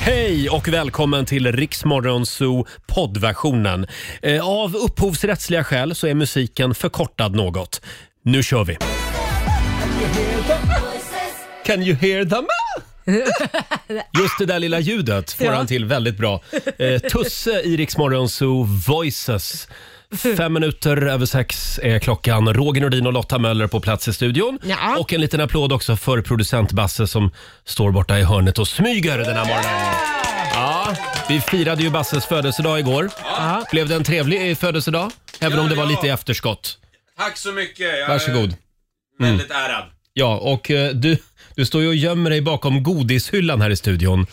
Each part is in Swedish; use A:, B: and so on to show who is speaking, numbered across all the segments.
A: Hej och välkommen till Riksmorgon Zoo poddversionen. Eh, Av upphovsrättsliga skäl så är musiken förkortad något. Nu kör vi! Can you hear them? Just det där lilla ljudet får
B: Ja.
A: han till väldigt bra. Eh, Tusse i Riksmorgon Zoo Voices.
B: Mm.
A: Fem minuter över sex är klockan. Roger Nordin och Lotta Möller på plats i studion.
B: Ja.
A: Och en liten applåd också för producent Basse som står borta i hörnet och smyger den här morgonen. Ja, vi firade ju Basses födelsedag igår.
B: Ja.
A: Blev det en trevlig eh, födelsedag? Även om det var lite i efterskott.
C: Tack så mycket. Jag
A: Varsågod. Mm.
C: är väldigt ärad.
A: Ja, och eh, du, du står ju och gömmer dig bakom godishyllan här i studion.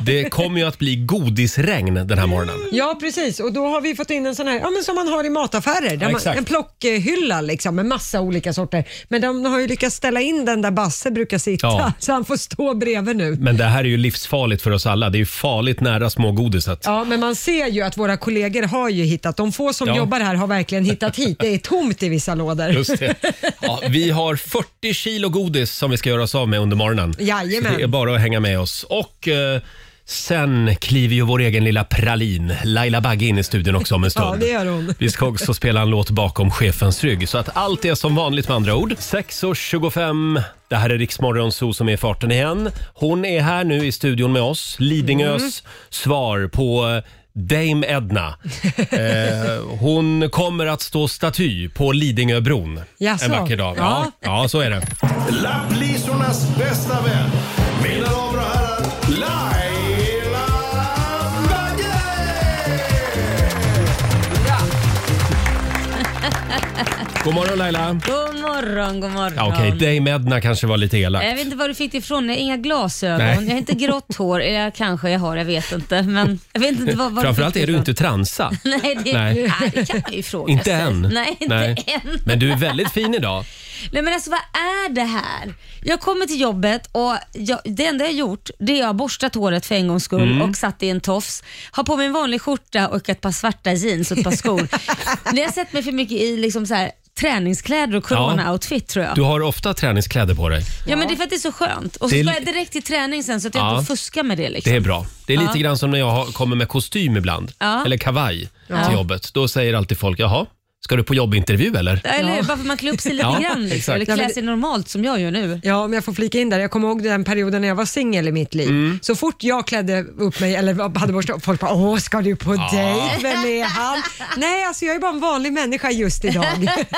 A: Det kommer ju att bli godisregn den här morgonen.
B: Ja, precis. Och då har vi fått in en sån här ja, men som man har i mataffärer. Där
A: Ja,
B: man,
A: exakt.
B: en plockhylla liksom, med massa olika sorter. Men de har ju lyckats ställa in den där Basse brukar sitta,
A: Ja.
B: så han får stå bredvid nu.
A: Men det här är ju livsfarligt för oss alla. Det är ju farligt nära smågodiset.
B: Ja, men man ser ju att våra kollegor har ju hittat. De få som
A: Ja.
B: jobbar här har verkligen hittat hit. Det är tomt i vissa lådor.
A: Just det. Ja, vi har 40 kilo godis som vi ska göra oss av med under morgonen.
B: Jajamän.
A: Så Det är bara att hänga med oss. Och eh, sen kliver ju vår egen lilla pralin, Laila Bagge, in i studion också om en stund.
B: Ja, det gör hon.
A: Vi ska också spela en låt bakom chefens rygg. Så att allt är som vanligt med andra ord. 6.25. Det här är Riksmorgon Zoo som är i farten igen. Hon är här nu i studion med oss. Lidingös
B: Mm.
A: svar på eh, Dame Edna. Eh, hon kommer att stå staty på Lidingöbron
B: Jaså?
A: en vacker dag. Ja, ja, så är det.
D: Lapplisornas bästa vän. Mina damer och herrar, Laila Bagge!
A: God morgon Laila.
E: God morgon, god morgon.
A: Ja, Okej, Dame Edna kanske var lite elak.
E: Jag vet inte var du fick det ifrån. Jag har inga glasögon,
A: Nej.
E: jag har inte grått hår. Eller jag kanske jag har, jag vet inte. Men jag vet inte vad, vad
A: Framförallt är du inte transa.
E: Nej, det,
A: Nej.
E: nej. det kan man ju fråga
A: Inte
E: sig.
A: än.
E: Nej, inte
A: Nej.
E: än.
A: Men du är väldigt fin idag.
E: Nej, men alltså vad är det här? Jag kommer till jobbet och jag, det enda jag gjort det är att jag har borstat håret för en gångs skull
A: Mm.
E: och satt i en tofs. Har på mig en vanlig skjorta och ett par svarta jeans och ett par skor. Ni har sett mig för mycket i liksom så här, träningskläder och corona-outfit tror jag.
A: Du har ofta träningskläder på dig.
E: Ja, men det är för att det är så skönt. Och så
A: Det är-
E: ska jag direkt till träning sen så att jag
A: Ja.
E: inte fuskar med det. Liksom.
A: Det är bra. Det är lite grann som när jag har- kommer med kostym ibland,
E: Ja.
A: eller kavaj till jobbet. Då säger alltid folk, jaha, ska du på jobbintervju eller?
E: Eller
B: Ja.
E: bara för man klär upp sig lite
A: Ja, exakt.
E: grann liksom, eller
B: Ja,
E: klär
B: men-
E: sig normalt som jag gör nu.
B: Ja, om jag får flika in där. Jag kommer ihåg den perioden när jag var singel i mitt liv.
A: Mm.
B: Så fort jag klädde upp mig eller hade borstat folk bara “Åh, ska du på dejt? Vem är han?” Nej, alltså jag är bara en vanlig människa just idag.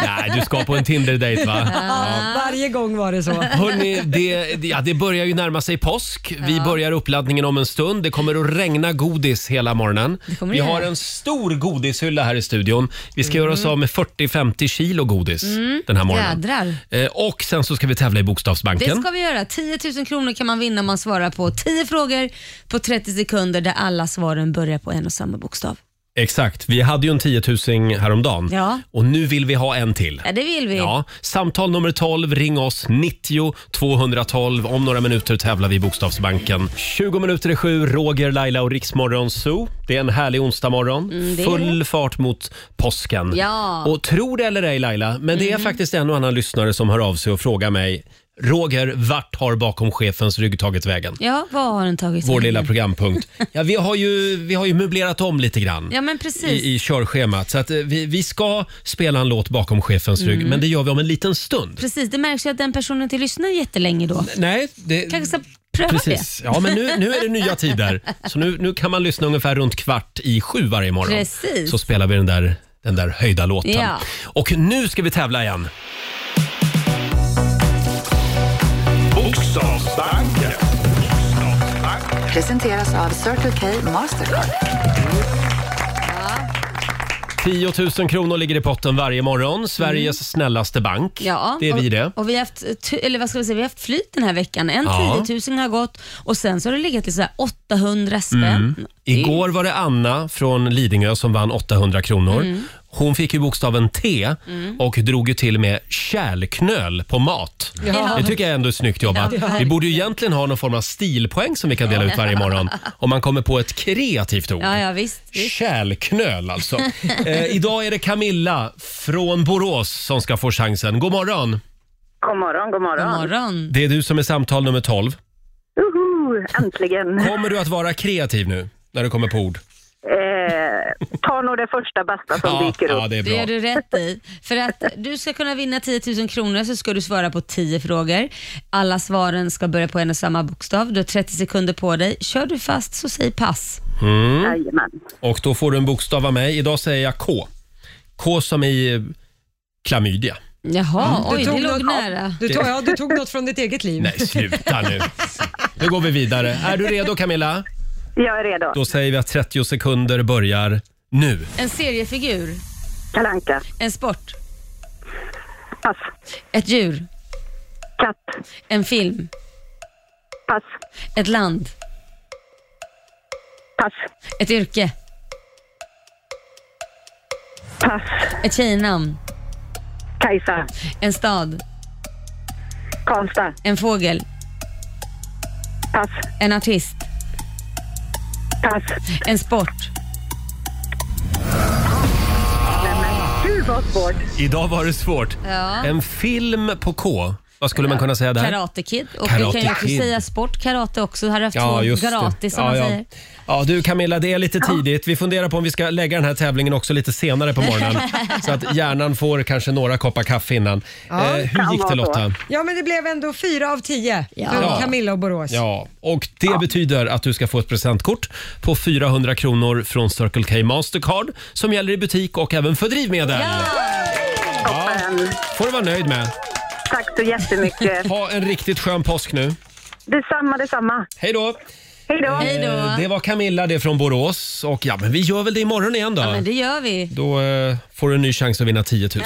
A: Nej, du ska på en Tinder-dejt va?
B: Ja, Varje gång var det så.
A: Hörrni, det, det- ja, det börjar ju närma sig påsk. Vi börjar uppladdningen om en stund. Det kommer att regna godis hela morgonen.
E: kommer
A: Vi
E: det
A: har
E: göra.
A: en stor godishylla här i studion. Vi ska göra oss av med 40-50 kilo godis
E: Mm.
A: den här morgonen.
E: Jädrar.
A: Eh, Och sen så ska vi tävla i Bokstavsbanken.
E: Det ska vi göra. 10 000 kronor kan man vinna om man svarar på 10 frågor på 30 sekunder där alla svaren börjar på en och samma bokstav.
A: Exakt. Vi hade ju en 10 000 häromdagen
E: Ja.
A: och nu vill vi ha en till.
E: Ja, det vill vi.
A: Ja, samtal nummer 12, ring oss 90 212. Om några minuter tävlar vi i Bokstavsbanken. 20 minuter i sju, Roger, Laila och Riksmorgon Zoo. Det är en härlig onsdagmorgon.
E: Mm, det är
A: Full fart mot påsken.
E: Ja. Mm.
A: Och tro det eller ej Laila, men det är faktiskt en och annan lyssnare som hör av sig och frågar mig Roger, vart har bakom chefens rygg tagit vägen?
E: Ja, vad har den tagit
A: Vår
E: vägen?
A: lilla programpunkt. Ja, vi, har ju, vi har ju möblerat om lite grann
E: Ja, men precis.
A: i, i körschemat. Så att eh, vi, vi ska spela en låt bakom chefens rygg, men det gör vi om en liten stund.
E: Mm. Precis, det märks ju att den personen inte lyssnar jättelänge då.
A: Nej, det...
E: Kanske ska pröva
A: Precis. Ja, men nu, nu är det nya tider. Så nu, nu kan man lyssna ungefär runt kvart i sju varje morgon.
E: Precis.
A: Så spelar vi den där, den där höjda låten.
E: Ja.
A: Och nu ska vi tävla igen.
D: Bokstavsbanken.
F: Presenteras av Circle K Mastercard.
A: 10 000 kronor ligger i potten varje morgon. Sveriges snällaste bank.
E: det. Mm. Ja,
A: det är
E: och,
A: vi det.
E: Och vi har haft, tu- eller vad ska vi säga, vi har haft flyt den här veckan. En
A: Ja.
E: 10 000 har gått och sen så har det legat till så här 800 spänn. Det är ju-
A: Mm. Igår var det Anna från Lidingö som vann 800 kronor.
E: Mm.
A: Hon fick ju bokstaven T och drog ju till med kärlknöl på mat. Det tycker jag ändå är snyggt jobbat. Vi borde ju egentligen ha någon form av stilpoäng som vi kan dela ut varje morgon om man kommer på ett kreativt ord.
E: Ja, ja visst. visst.
A: Kärlknöl alltså. eh, idag är det Camilla från Borås som ska få chansen. God morgon!
G: God morgon, god
E: God
G: morgon.
E: morgon.
A: Det är du som är samtal nummer 12.
G: Uhu, äntligen.
A: Kommer du att vara kreativ nu när du kommer på ord?
G: Eh, ta nog det första bästa som
A: Ja,
G: dyker upp.
A: ja det är
E: Det gör
A: bra.
E: du rätt i. För att du ska kunna vinna 10 000 kronor så ska du svara på 10 frågor. Alla svaren ska börja på en och samma bokstav. Du har 30 sekunder på dig. Kör du fast så säg pass.
G: Jajamän.
A: Och då får du en bokstav av mig. Idag säger jag K. K som i eh, klamydia.
E: Jaha, oj det
B: tog
E: låg
B: något-
E: nära.
B: Du tog, ja, du tog något från ditt eget liv.
A: Nej, sluta nu. Nu går vi vidare. Är du redo Camilla?
G: Jag är redo.
A: Då säger vi att 30 sekunder börjar nu.
E: En seriefigur,
G: Kalanka.
E: en sport,
G: Pass.
E: ett djur,
G: Katt.
E: en film,
G: Pass.
E: ett land,
G: Pass.
E: ett yrke,
G: Pass.
E: ett tjejnamn,
G: Kajsa.
E: en stad,
G: Karlstad.
E: en fågel,
G: Pass.
E: en artist,
G: Pass.
E: en sport.
G: Gud vad svårt.
A: Idag var det svårt.
E: Ja.
A: En film på K. Vad skulle man kunna säga där?
E: Karate Kid. Och vi
A: Karate
E: kan ju också
A: Kid.
E: säga sport, karate också. Här har jag
A: Ja,
E: haft
A: just
E: två
A: det.
E: gratis som man säger.
A: ja, du Camilla, det är lite tidigt. Vi funderar på om vi ska lägga den här tävlingen också lite senare på morgonen. så att hjärnan får kanske några koppar kaffe innan. eh, hur
G: kan
A: gick det
G: vara så.
A: Lotta?
B: Ja, men det blev ändå fyra av tio
E: Ja.
B: för
A: Ja.
B: Camilla och Borås.
A: Ja, och det betyder att du ska få ett presentkort på 400 kronor från Circle K Mastercard som gäller i butik och även för drivmedel. Ja,
G: Men,
A: får du vara nöjd med.
G: tack så jättemycket.
A: Ha en riktigt skön påsk nu.
G: Detsamma, detsamma.
A: Hej då!
G: Hej då.
E: Hej då.
A: Eh, Det var Camilla det från Borås och ja, men vi gör väl det imorgon igen då.
E: Ja, men det gör vi.
A: Då eh, får du en ny chans att vinna 10 000.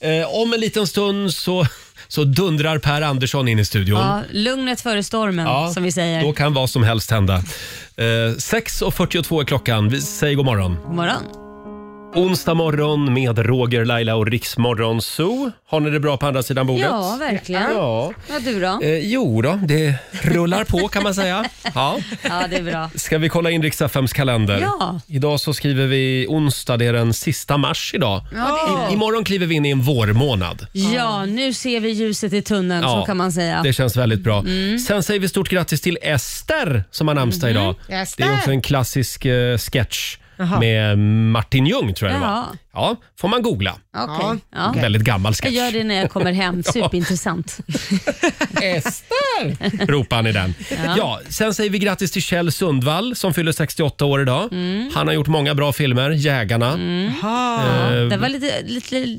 A: Eh, om en liten stund så, så dundrar Per Andersson in i studion.
E: Ja, lugnet före stormen,
A: Ja,
E: som vi säger.
A: Då kan vad som helst hända. Eh, 6.42 är klockan. Vi säger god morgon.
E: God morgon.
A: Onsdag morgon med Roger, Laila och Riksmorgon Zoo. Har ni det bra på andra sidan bordet?
E: Ja, verkligen. Ja.
A: Ja.
E: du då?
A: Eh, jo då, det rullar på kan man säga. Ja.
E: Ja, det är bra.
A: Ska vi kolla in riks kalender?
E: Ja.
A: Idag så skriver vi onsdag, det är den sista mars idag.
E: Ja,
A: I, imorgon kliver vi in i en vårmånad.
E: ja, nu ser vi ljuset i tunneln, så kan man säga.
A: Det känns väldigt bra.
E: Mm.
A: Sen säger vi stort grattis till Ester som har
E: Mm-hmm.
A: namnsdag idag.
B: Ester!
A: Det är också en klassisk eh, sketch med Martin Ljung tror jag det var.
E: Jaha.
A: Ja, får man googla.
E: Okej. Ja.
A: Väldigt gammal
E: Jag
A: sketch.
E: gör det när jag kommer hem. Superintressant.
A: Ester! ropar han i den. Ja. sen säger vi grattis till Kjell Sundvall som fyller 68 år idag.
E: Mm.
A: Han har gjort många bra filmer, Jägarna.
B: Jaha.
A: Eh,
E: Det var lite, lite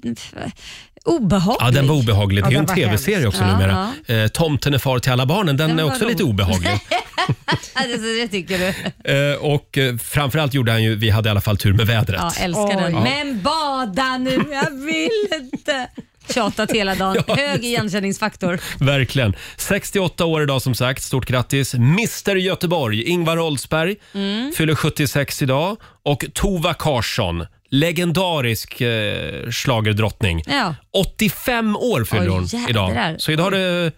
E: obehagligt.
A: Ja, den var obehaglig. Det är
B: Ja,
A: ju en
B: den var
A: tv-serie också
E: Ja,
A: numera. Eh, Tomten är far till alla barnen. Den,
E: Den
A: är
E: var
A: också lite
E: rolig.
A: obehaglig.
E: det, det tycker du.
A: Eh, och eh, framförallt gjorde han ju Vi hade i alla fall tur med vädret.
E: Ja, älskar den.
B: Oj.
E: Men bada nu, jag vill inte. Tjatat hela dagen.
A: Ja,
E: Hög igenkänningsfaktor.
A: Verkligen. 68 år idag som sagt. Stort grattis. Mr Göteborg, Ingvar Oldsberg,
E: Mm.
A: fyller 76 idag. Och Tova Karsson, legendarisk eh, schlagerdrottning.
E: Ja.
A: 85 år fyller
E: Oj,
A: hon
E: jädrar.
A: idag. Så idag är det
E: Gud, vad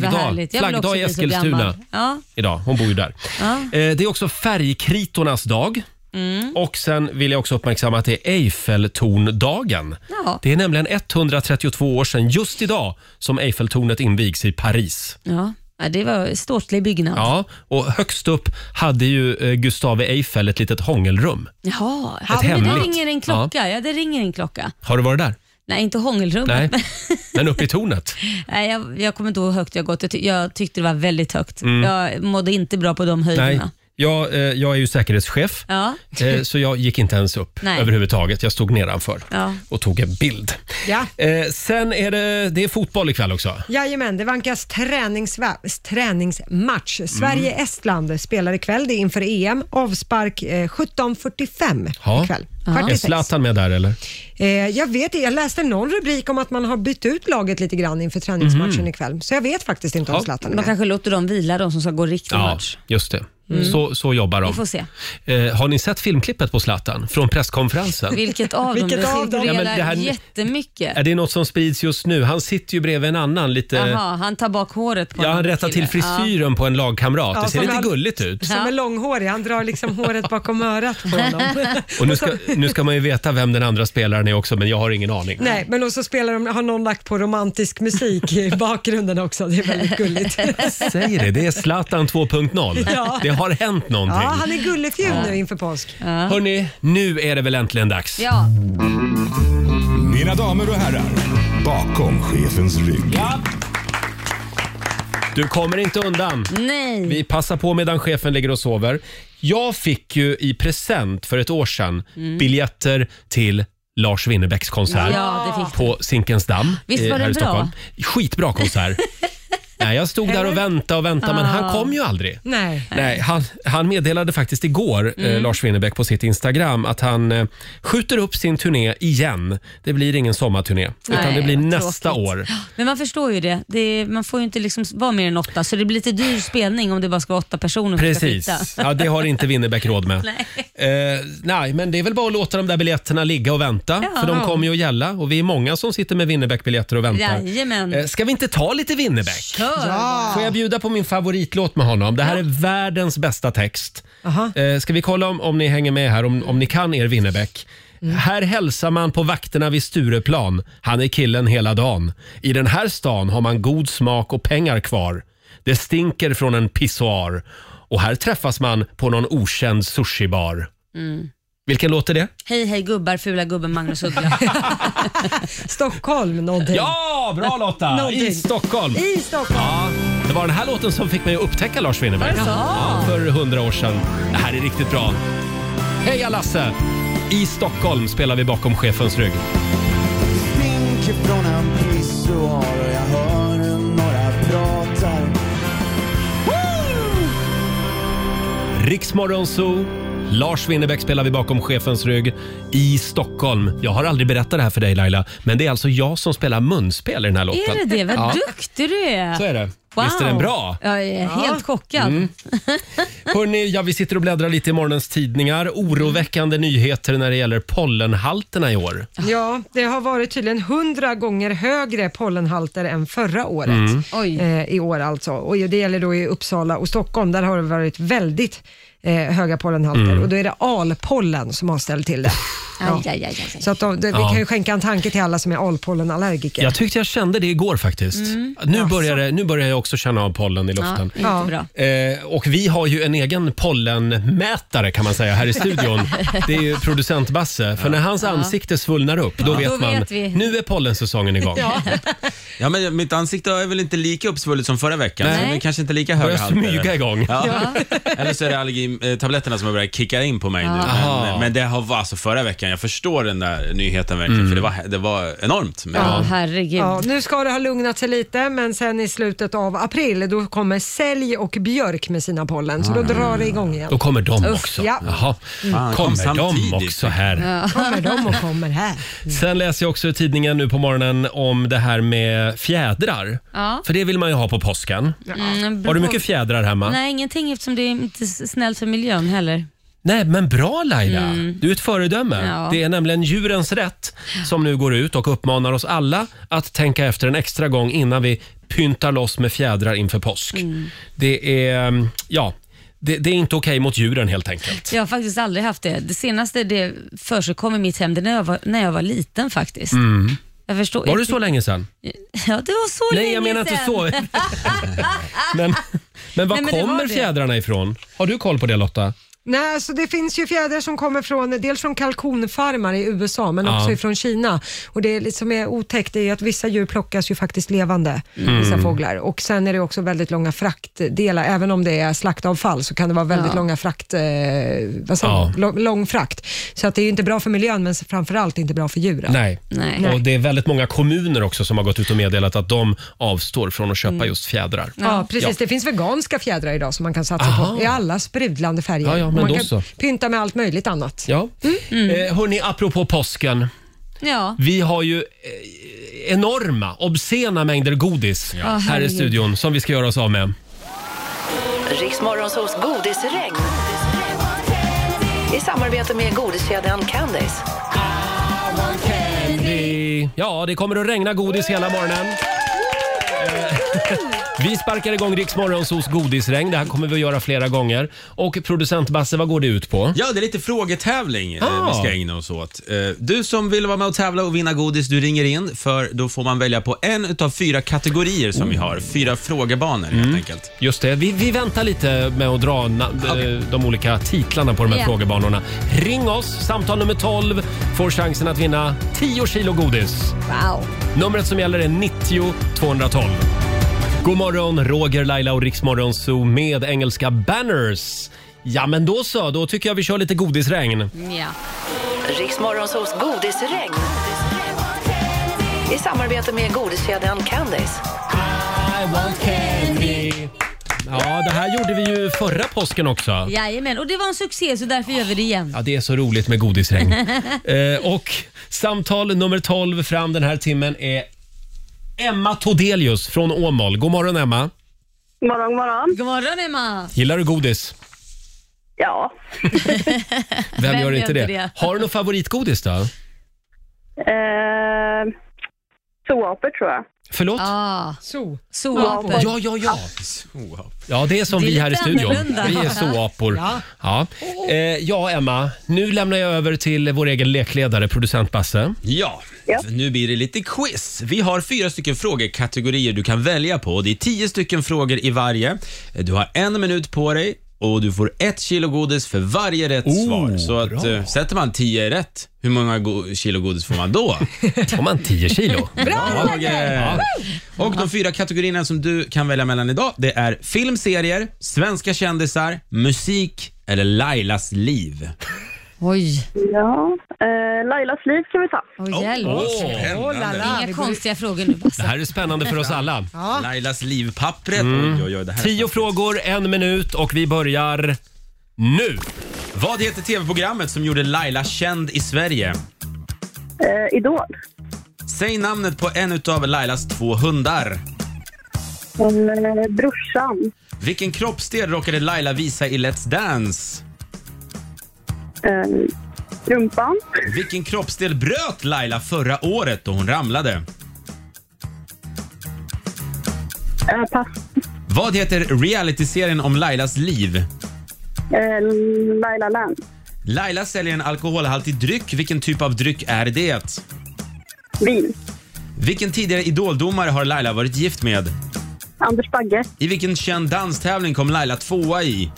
A: flaggdag,
E: härligt. Jag vill också
A: flaggdag i
E: bli så
A: Eskilstuna.
E: gammal. Ja.
A: idag. Hon bor ju där.
E: Ja.
A: Eh, Det är också färgkritornas dag. Och sen vill jag också uppmärksamma att det är Eiffeltorndagen.
E: Ja.
A: Det är nämligen 132 år sedan just idag som Eiffeltornet invigs i Paris.
E: Ja. Ja, det var ståtlig byggnad.
A: Ja, och högst upp hade ju eh, Gustave Eiffel ett litet hångelrum.
E: Jaha,
A: Ett
E: men det
A: hemligt.
E: ringer en klocka. Ja. det ringer en klocka.
A: Har du varit där?
E: Nej, inte hångelrummet.
A: Nej,
E: Nej.
A: men uppe i tornet.
E: Nej, jag, jag kommer inte ihåg hur högt jag gått. Jag, ty- jag tyckte det var väldigt högt.
A: Mm.
E: Jag mådde inte bra på de
A: Nej.
E: höjderna.
A: Jag, eh, jag är ju säkerhetschef,
E: Ja.
A: eh, så jag gick inte ens upp
E: Nej.
A: överhuvudtaget. Jag stod nedanför
E: Ja.
A: och tog en bild.
B: Ja.
A: Eh, sen är det, det är fotboll ikväll också.
B: Jajamän, det vankas träningsva- träningsmatch.
A: Mm.
B: Sverige-Estland spelar ikväll. Det är inför EM. Avspark eh, 17.45
A: Ja.
B: ikväll.
E: Ja.
B: Kvart i
A: Är
B: sex.
A: Zlatan med där eller?
B: Eh, jag vet jag läste någon rubrik om att man har bytt ut laget lite grann inför träningsmatchen ikväll. Så jag vet faktiskt inte om
A: Mm. Ja.
B: Zlatan är
E: De
B: med.
E: kanske låter dem vila, de som ska gå riktig match.
A: just det. Så, så jobbar de.
E: Vi får se.
A: Eh, har ni sett filmklippet på Zlatan från presskonferensen?
E: Vilket av dem?
B: Vilket
E: det
B: av dem?
E: cirkulerar
A: Ja, men det här-
E: jättemycket.
A: Är det något som sprids just nu? Han sitter ju bredvid en annan lite...
E: Jaha, han tar bak håret på
A: Eh, Ja,
E: en
A: han rättar till
E: kille.
A: frisyren på en lagkamrat.
B: Ja,
A: det ser
B: som
A: lite
B: han-
A: gulligt ut.
B: Som
E: Ja.
B: är långhårig, han drar liksom håret bakom örat på honom.
A: Och nu ska, nu ska man ju veta vem den andra spelaren är också, men jag har ingen aning.
B: Nej, men och så spelar de, har någon lagt på romantisk musik i bakgrunden också. Det är väldigt gulligt.
A: Säg det, det är Zlatan 2.0.
B: Ja.
A: Det har hänt
B: Ja,
A: någonting.
B: han är gullefjun nu inför påsk.
A: Hörni, nu är det väl äntligen dags.
E: Ja.
D: Mina damer och herrar, bakom chefens rygg.
A: Du kommer inte undan.
E: ja, nej.
A: Vi passar på medan chefen ligger och sover. Jag fick ju i present för ett år sedan
E: Mm.
A: biljetter till Lars Winnerbäcks konsert
E: Ja, det fick
A: på Zinkensdamm
E: Visst
A: eh,
E: var det
A: här i
E: bra?
A: Stockholm. Skitbra konsert. Nej, jag stod där och väntade och väntade, men
E: Ah.
A: han kom ju aldrig.
B: Nej.
A: Nej, han, han meddelade faktiskt igår, eh,
E: Mm.
A: Lars Winnerbäck, på sitt Instagram att han eh, skjuter upp sin turné igen. Det blir ingen sommarturné, utan
E: Nej,
A: det blir
E: vad
A: nästa
E: tråkigt.
A: år.
E: Men man förstår ju det. det är, man får ju inte liksom vara mer än åtta, så det blir lite dyr spelning om det bara ska vara åtta personer som
A: Precis.
E: ska flytta.
A: Ja, det har inte Winnerbäck råd med.
E: Nej.
A: Eh, nej, men det är väl bara att låta de där biljetterna ligga och vänta.
E: Ja.
A: för de kommer ju att gälla och vi är många som sitter med Winnerbäck-biljetter och väntar.
E: Jajamän.
A: Eh, ska vi inte ta lite Winnerbäck?
E: Kör!
A: Får jag bjuda på min favoritlåt med honom? Det här är världens bästa text.
B: Aha.
A: Eh, ska vi kolla om, om ni hänger med här, om, om ni kan er Winnerbäck? Här hälsar man på vakterna vid Stureplan. Han är killen hela dagen. I den här stan har man god smak och pengar kvar. Det stinker från en pissoar. Och här träffas man på någon okänd sushibar. Vilken låt är det?
E: Hej hej gubbar, fula gubben Magnus Uggla.
B: Stockholm nådde.
A: Ja, bra Lotta!
B: Någonting.
A: I Stockholm!
B: I Stockholm.
A: Det var den här låten som fick mig att upptäcka Lars Winnerbäck. Ja, för hundra år sedan. Det här är riktigt bra. Heja Lasse! I Stockholm spelar vi bakom chefens rygg.
H: stinker från en pissoar och jag hör några pratar.
A: Riksmorgon Zoo. Lars Winnerbäck spelar vi bakom chefens rygg i Stockholm. Jag har aldrig berättat det här för dig Laila, men det är alltså jag som spelar munspel i den här låten.
E: är det det? Vad
A: Ja.
E: duktig du är!
A: Så är det.
E: Wow.
A: Visst är den bra? Mm.
E: Jag är helt chockad.
A: Hörrni, ja, vi sitter och bläddrar lite i morgonens tidningar. Oroväckande nyheter när det gäller pollenhalterna i år.
B: Ja, det har varit tydligen hundra gånger högre pollenhalter än förra året.
E: Oj.
B: Eh, I år alltså. Och det gäller då i Uppsala och Stockholm. Där har det varit väldigt eh, höga pollenhalter. Och då är det alpollen som har ställt till det.
E: Aj, aj, aj, aj.
B: Så att de, det, vi kan ju skänka en tanke till alla som är alpollenallergiker.
A: Jag tyckte jag kände det igår faktiskt. Nu, börjar det, nu börjar jag också känna av pollen i
E: Mm. Ja,
A: luften.
E: inte
B: Ja.
E: bra.
A: Eh, och vi har ju en egen pollenmätare kan man säga här i studion. Det är ju producent Basse. För när hans ansikte svullnar upp, då vet
E: Då
A: man.
E: vet vi.
A: Nu är pollensäsongen igång.
C: Ja, men mitt ansikte är väl inte lika uppsvullet som förra veckan,
A: Nej.
C: så det är kanske inte lika höga
A: Börjar smyga igång.
C: Ja. Eller så är det allergitabletterna som har börjat kicka in på mig nu.
A: Aha.
C: Men, men det har var alltså förra veckan. Jag förstår den där nyheten verkligen,
A: Mm.
C: för det var, det var enormt. Men,
E: Ja, herregud.
B: Ja, nu ska det ha lugnat sig lite, men sen i slutet av april då kommer sälj och björk med sina pollen, så då drar det igång igen.
A: Mm. Då kommer de
B: Uff,
A: också.
B: ja.
A: Jaha.
E: Mm.
C: Fan, kom
A: Kommer de
C: samtidigt.
A: också här?
B: kommer de och kommer här.
A: Sen läser jag också i tidningen nu på morgonen om det här med fjädrar.
E: Ja.
A: För det vill man ju ha på påsken.
E: Mm,
A: Har du
E: bra.
A: mycket fjädrar hemma?
E: Nej, ingenting eftersom det är inte s- snällt för miljön heller.
A: Nej, men bra Laila! Du är ett föredöme.
E: Mm. Ja.
A: Det är nämligen djurens rätt som nu går ut och uppmanar oss alla att tänka efter en extra gång innan vi pyntar loss med fjädrar inför påsk.
E: Mm.
A: Det är, mm, ja, det, det är inte okej mot djuren helt enkelt.
E: Jag har faktiskt aldrig haft det. Det senaste det förekom i mitt hem, det är när jag var, när jag var liten faktiskt. Jag förstår.
A: Mm. Var det så länge sedan?
E: Ja, det var så
A: Nej,
E: länge
A: jag menar inte
E: sedan.
A: så. men, men var
E: Nej, men det var
A: kommer
E: det.
A: fjädrarna ifrån? Har du koll på det Lotta?
B: Nej, så det finns ju fjädrar som kommer från, dels från kalkonfarmar i USA, men
A: Ja.
B: också från Kina. Och det liksom är otäckt det är ju att vissa djur plockas ju faktiskt levande,
A: Mm.
B: vissa fåglar. Och sen är det också väldigt långa fraktdelar, även om det är slaktavfall så kan det vara väldigt långa frakt, eh, vad säger
A: Ja.
B: man? lång, lång frakt. Så att det är ju inte bra för miljön, men framförallt inte bra för djuren.
A: Nej.
E: Nej.
A: Och det är väldigt många kommuner också som har gått ut och meddelat att de avstår från att
E: Mm.
A: köpa just fjädrar.
B: Ja, precis. Det finns veganska fjädrar idag som man kan satsa
A: Aha.
B: på i alla sprudlande färger.
A: Ja, ja, men
B: man
A: då
B: kan
A: så.
B: pynta med allt möjligt annat.
A: Ja.
E: Mm.
A: Eh, hörni, apropå påsken.
E: Ja.
A: Vi har ju eh, enorma, obscena mängder godis här i
E: herregud.
A: studion som vi ska göra oss av med.
F: Riksmorgonsols godisregn. I samarbete med godiskedjan Candice.
A: Det- Ja, det kommer att regna godis hela morgonen. Eh, Vi sparkar igång Rix Morgonzos godisregn. Det här kommer vi att göra flera gånger. Och producent Basse, vad går det ut på?
C: Ja, det är lite frågetävling eh,
A: Ah.
C: vi ska ägna oss åt. Eh, Du som vill vara med och tävla och vinna godis, du ringer in för då får man välja på en av fyra kategorier som vi har. Fyra frågebanor
A: Mm.
C: helt enkelt.
A: Just det, vi, vi väntar lite med att dra na- eh, de olika titlarna på de här
E: Ja.
A: frågebanorna. Ring oss, samtal nummer 12 får chansen att vinna 10 kilo godis.
E: Wow.
A: Numret som gäller är 90 212. God morgon, Roger, Laila och Riksmorgon Zoo med engelska banners. Ja, men då så. Då tycker jag vi kör lite godisregn.
E: Ja.
F: Riksmorgonsols godisregn. I samarbete med godiskedjan Candice.
A: Ja, det här gjorde vi ju förra påsken också.
E: Jajamän, och det var en succé så därför gör vi det igen.
A: Ja, det är så roligt med godisregn. eh, och samtal nummer 12 fram den här timmen är Emma Todelius från Åmål. God morgon Emma.
G: Morgon, morgon.
E: God morgon Emma!
A: Gillar du godis?
G: Ja.
A: Vem, gör inte det? Har du något favoritgodis då?
G: Eh, Soaper tror jag.
A: Förlåt?
E: Ah,
B: Så.
E: soapor.
A: Ja, ja, ja. Ja, det är som
E: Det är
A: vi här i
E: lite
A: studion.
E: annorlunda.
A: Vi är såapor. Ja. Ja. Eh, ja, Emma. Nu lämnar jag över till vår egen lekledare, producent Basse.
C: Ja, nu blir det lite quiz. Vi har fyra stycken frågekategorier du kan välja på. Det är tio stycken frågor i varje. Du har en minut på dig och du får ett kilo godis för varje rätt
A: Oh,
C: svar. Så att,
A: bra.
C: eh, sätter man tio rätt, hur många go- kilo godis får man då?
A: Får man 10 kilo?
C: Bra, Roger! Och de fyra kategorierna som du kan välja mellan idag, det är film, serier, svenska kändisar, musik eller Lailas liv.
E: Oj,
G: Ja. Eh, Lailas liv kan vi ta.
E: oj hjälp. Inga konstiga frågor nu
A: Det
E: Basse.
A: här är spännande för oss alla.
C: Lailas liv-pappret. Oj, oj, oj, det här är
A: Mm. Tio frågor, en minut och vi börjar nu.
C: Vad heter tv-programmet som gjorde Laila känd i Sverige?
G: Eh, Idol.
C: Säg namnet på en utav Lailas två hundar.
G: Eh, brorsan.
C: Vilken kroppsdel råkade Laila visa i Let's Dance?
G: Eh, rumpan.
C: Vilken kroppsdel bröt Laila förra året då hon ramlade?
G: Eh, pass.
C: Vad heter realityserien om Lailas liv?
G: Eh, Laila Land.
C: Laila säljer en alkoholhaltig dryck. Vilken typ av dryck är det?
G: Vin.
C: Vilken tidigare idoldomare har Laila varit gift med?
G: Anders Bagge.
C: I vilken känd danstävling kom Laila tvåa i?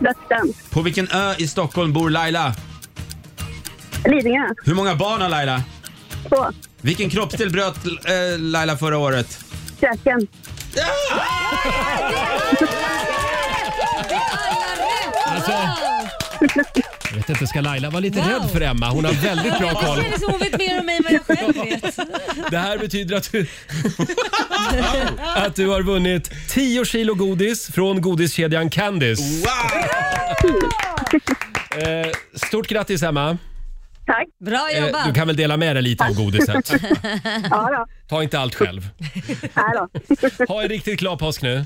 G: Let's Dance.
C: På vilken ö i Stockholm bor Laila?
G: Lidingö.
C: Hur många barn har Laila?
G: Två.
C: Vilken kroppsdel bröt eh, Laila förra året?
G: Käken.
A: Alltså, jag vet inte, ska Laila vara lite rädd för Emma? Hon har väldigt bra
E: Jag
A: koll.
E: känner som hon vet mer om mig än vad jag själv vet.
A: Det här betyder att du, att du har vunnit 10 kilo godis från godiskedjan Candice. Eh, stort grattis Emma.
G: Tack.
E: Bra
A: Eh,
E: jobbat!
A: du kan väl dela med dig lite av godiset.
G: Ja, då.
A: Ta inte allt själv.
G: Nej då.
A: Ha en riktigt glad påsk nu.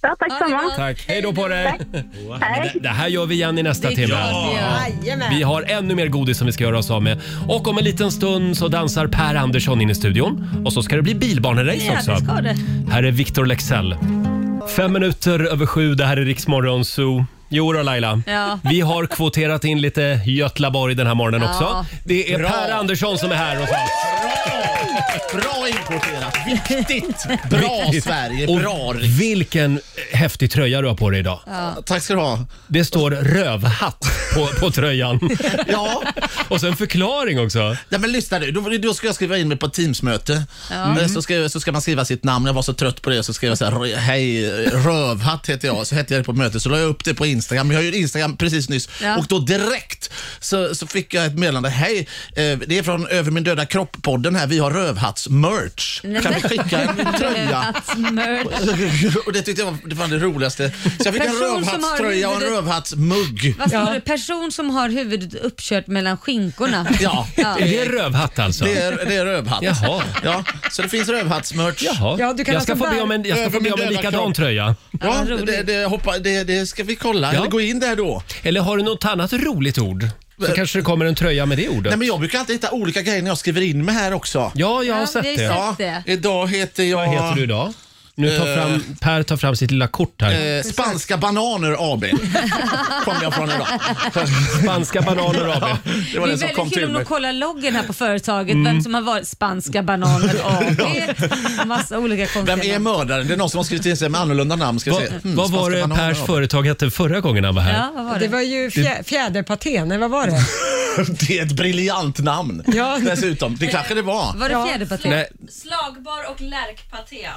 G: Ja, tack
E: Ja, det
G: samma.
E: var-
A: Tack. Hej då på dig.
G: Hej.
A: Det här gör vi igen i nästa
E: Det är
A: timme.
E: klart vi gör.
A: Vi har ännu mer godis som vi ska göra oss av med. Och om en liten stund så dansar Per Andersson in i studion. Och så ska det bli bilbanerace
E: Ja,
A: också.
E: det ska det.
A: Här är Victor Lexell. Fem minuter över sju, det här är Riksmorgon Zoo. Jo då Laila,
E: Ja.
A: vi har kvoterat in lite Götlaborg den här morgonen
E: Ja.
A: också. Det är Per Andersson som är här hos oss.
I: Bra importerat, viktigt, bra Sverige, bra.
A: Och vilken häftig tröja du har på dig idag.
I: Tack ska du ha.
A: Det står rövhatt på, på tröjan.
I: Ja,
A: Och sen förklaring också.
I: nej, men lyssna nu. Då, då ska jag skriva in mig på ett Teamsmöte. Mm. Så, ska, så ska man skriva sitt namn. Jag var så trött på det så skrev jag så här, hej rövhatt heter jag. Så hette jag det på mötet. Så la jag upp det på Instagram. Jag har ju Instagram precis nyss.
E: Ja.
I: Och då direkt så, så fick jag ett meddelande. Hej, eh, det är från Över min döda kropp-podden här. Vi har rövhatts-merch.
E: Nej,
I: Kan
E: men-
I: vi skicka en tröja?
E: Merch.
I: Och det tyckte jag var det, var det roligaste. Så jag fick en
E: Person som har
I: rövhattströja och en
E: huvudet-
I: rövhattsmugg.
E: Vad står det? Person som har huvudet uppkört mellan skinkorna.
I: Ja. Eh,
A: Är det rövhatt alltså?
I: Det är, det är rövhatt.
A: Jaha.
I: Ja. Så det finns rövhattsmerch.
A: Jaha.
B: Ja, du kan
A: jag ska
B: alltså
A: få be
B: bära
A: om en, jag ska
I: över
A: få be
I: min
A: om en
I: döva
A: likadan
I: kropp.
A: tröja.
I: Ja,
E: roligt.
I: det, det, hoppa, det, det ska vi kolla.
A: Ja.
I: Eller gå in där då.
A: Eller har du något annat roligt ord? Så kanske det kommer en tröja med det ordet.
I: Nej, men jag brukar alltid hitta olika grejer när jag skriver in mig här också.
A: Ja, jag har
E: Ja,
A: sett
E: det
A: det.
E: är sant.
I: Ja,
E: det.
I: idag heter jag...
A: Vad heter du idag? Nu tar fram, Per tar fram sitt lilla kort här.
I: Eh, Spanska Bananer AB kom jag från idag.
A: Spanska bananer AB.
I: Det
E: Det
I: var
E: är
I: den som
E: väldigt
I: kom
E: kul
I: till
E: om de
I: mig. Mm.
E: kollar loggen här på företaget, vem som har varit spanska bananer AB. Massa olika konstiga
I: Vem är
E: namn.
I: mördaren? Det är någon som har skrivit in sig med annorlunda namn. Ska jag
A: Va,
I: säga. Mm,
A: vad var
I: Spanska
A: det
I: Bananer
A: Pers
I: AB.
A: företag hette förra gången han var här?
E: Ja, vad var det?
B: Det var ju fjä, fjäderpaté, nej vad var det?
I: Det är ett briljant namn
B: Ja.
I: dessutom. Det kanske det var.
E: Var det fjäderpaté?
A: Nej,
J: Slagbar och lärkpaté.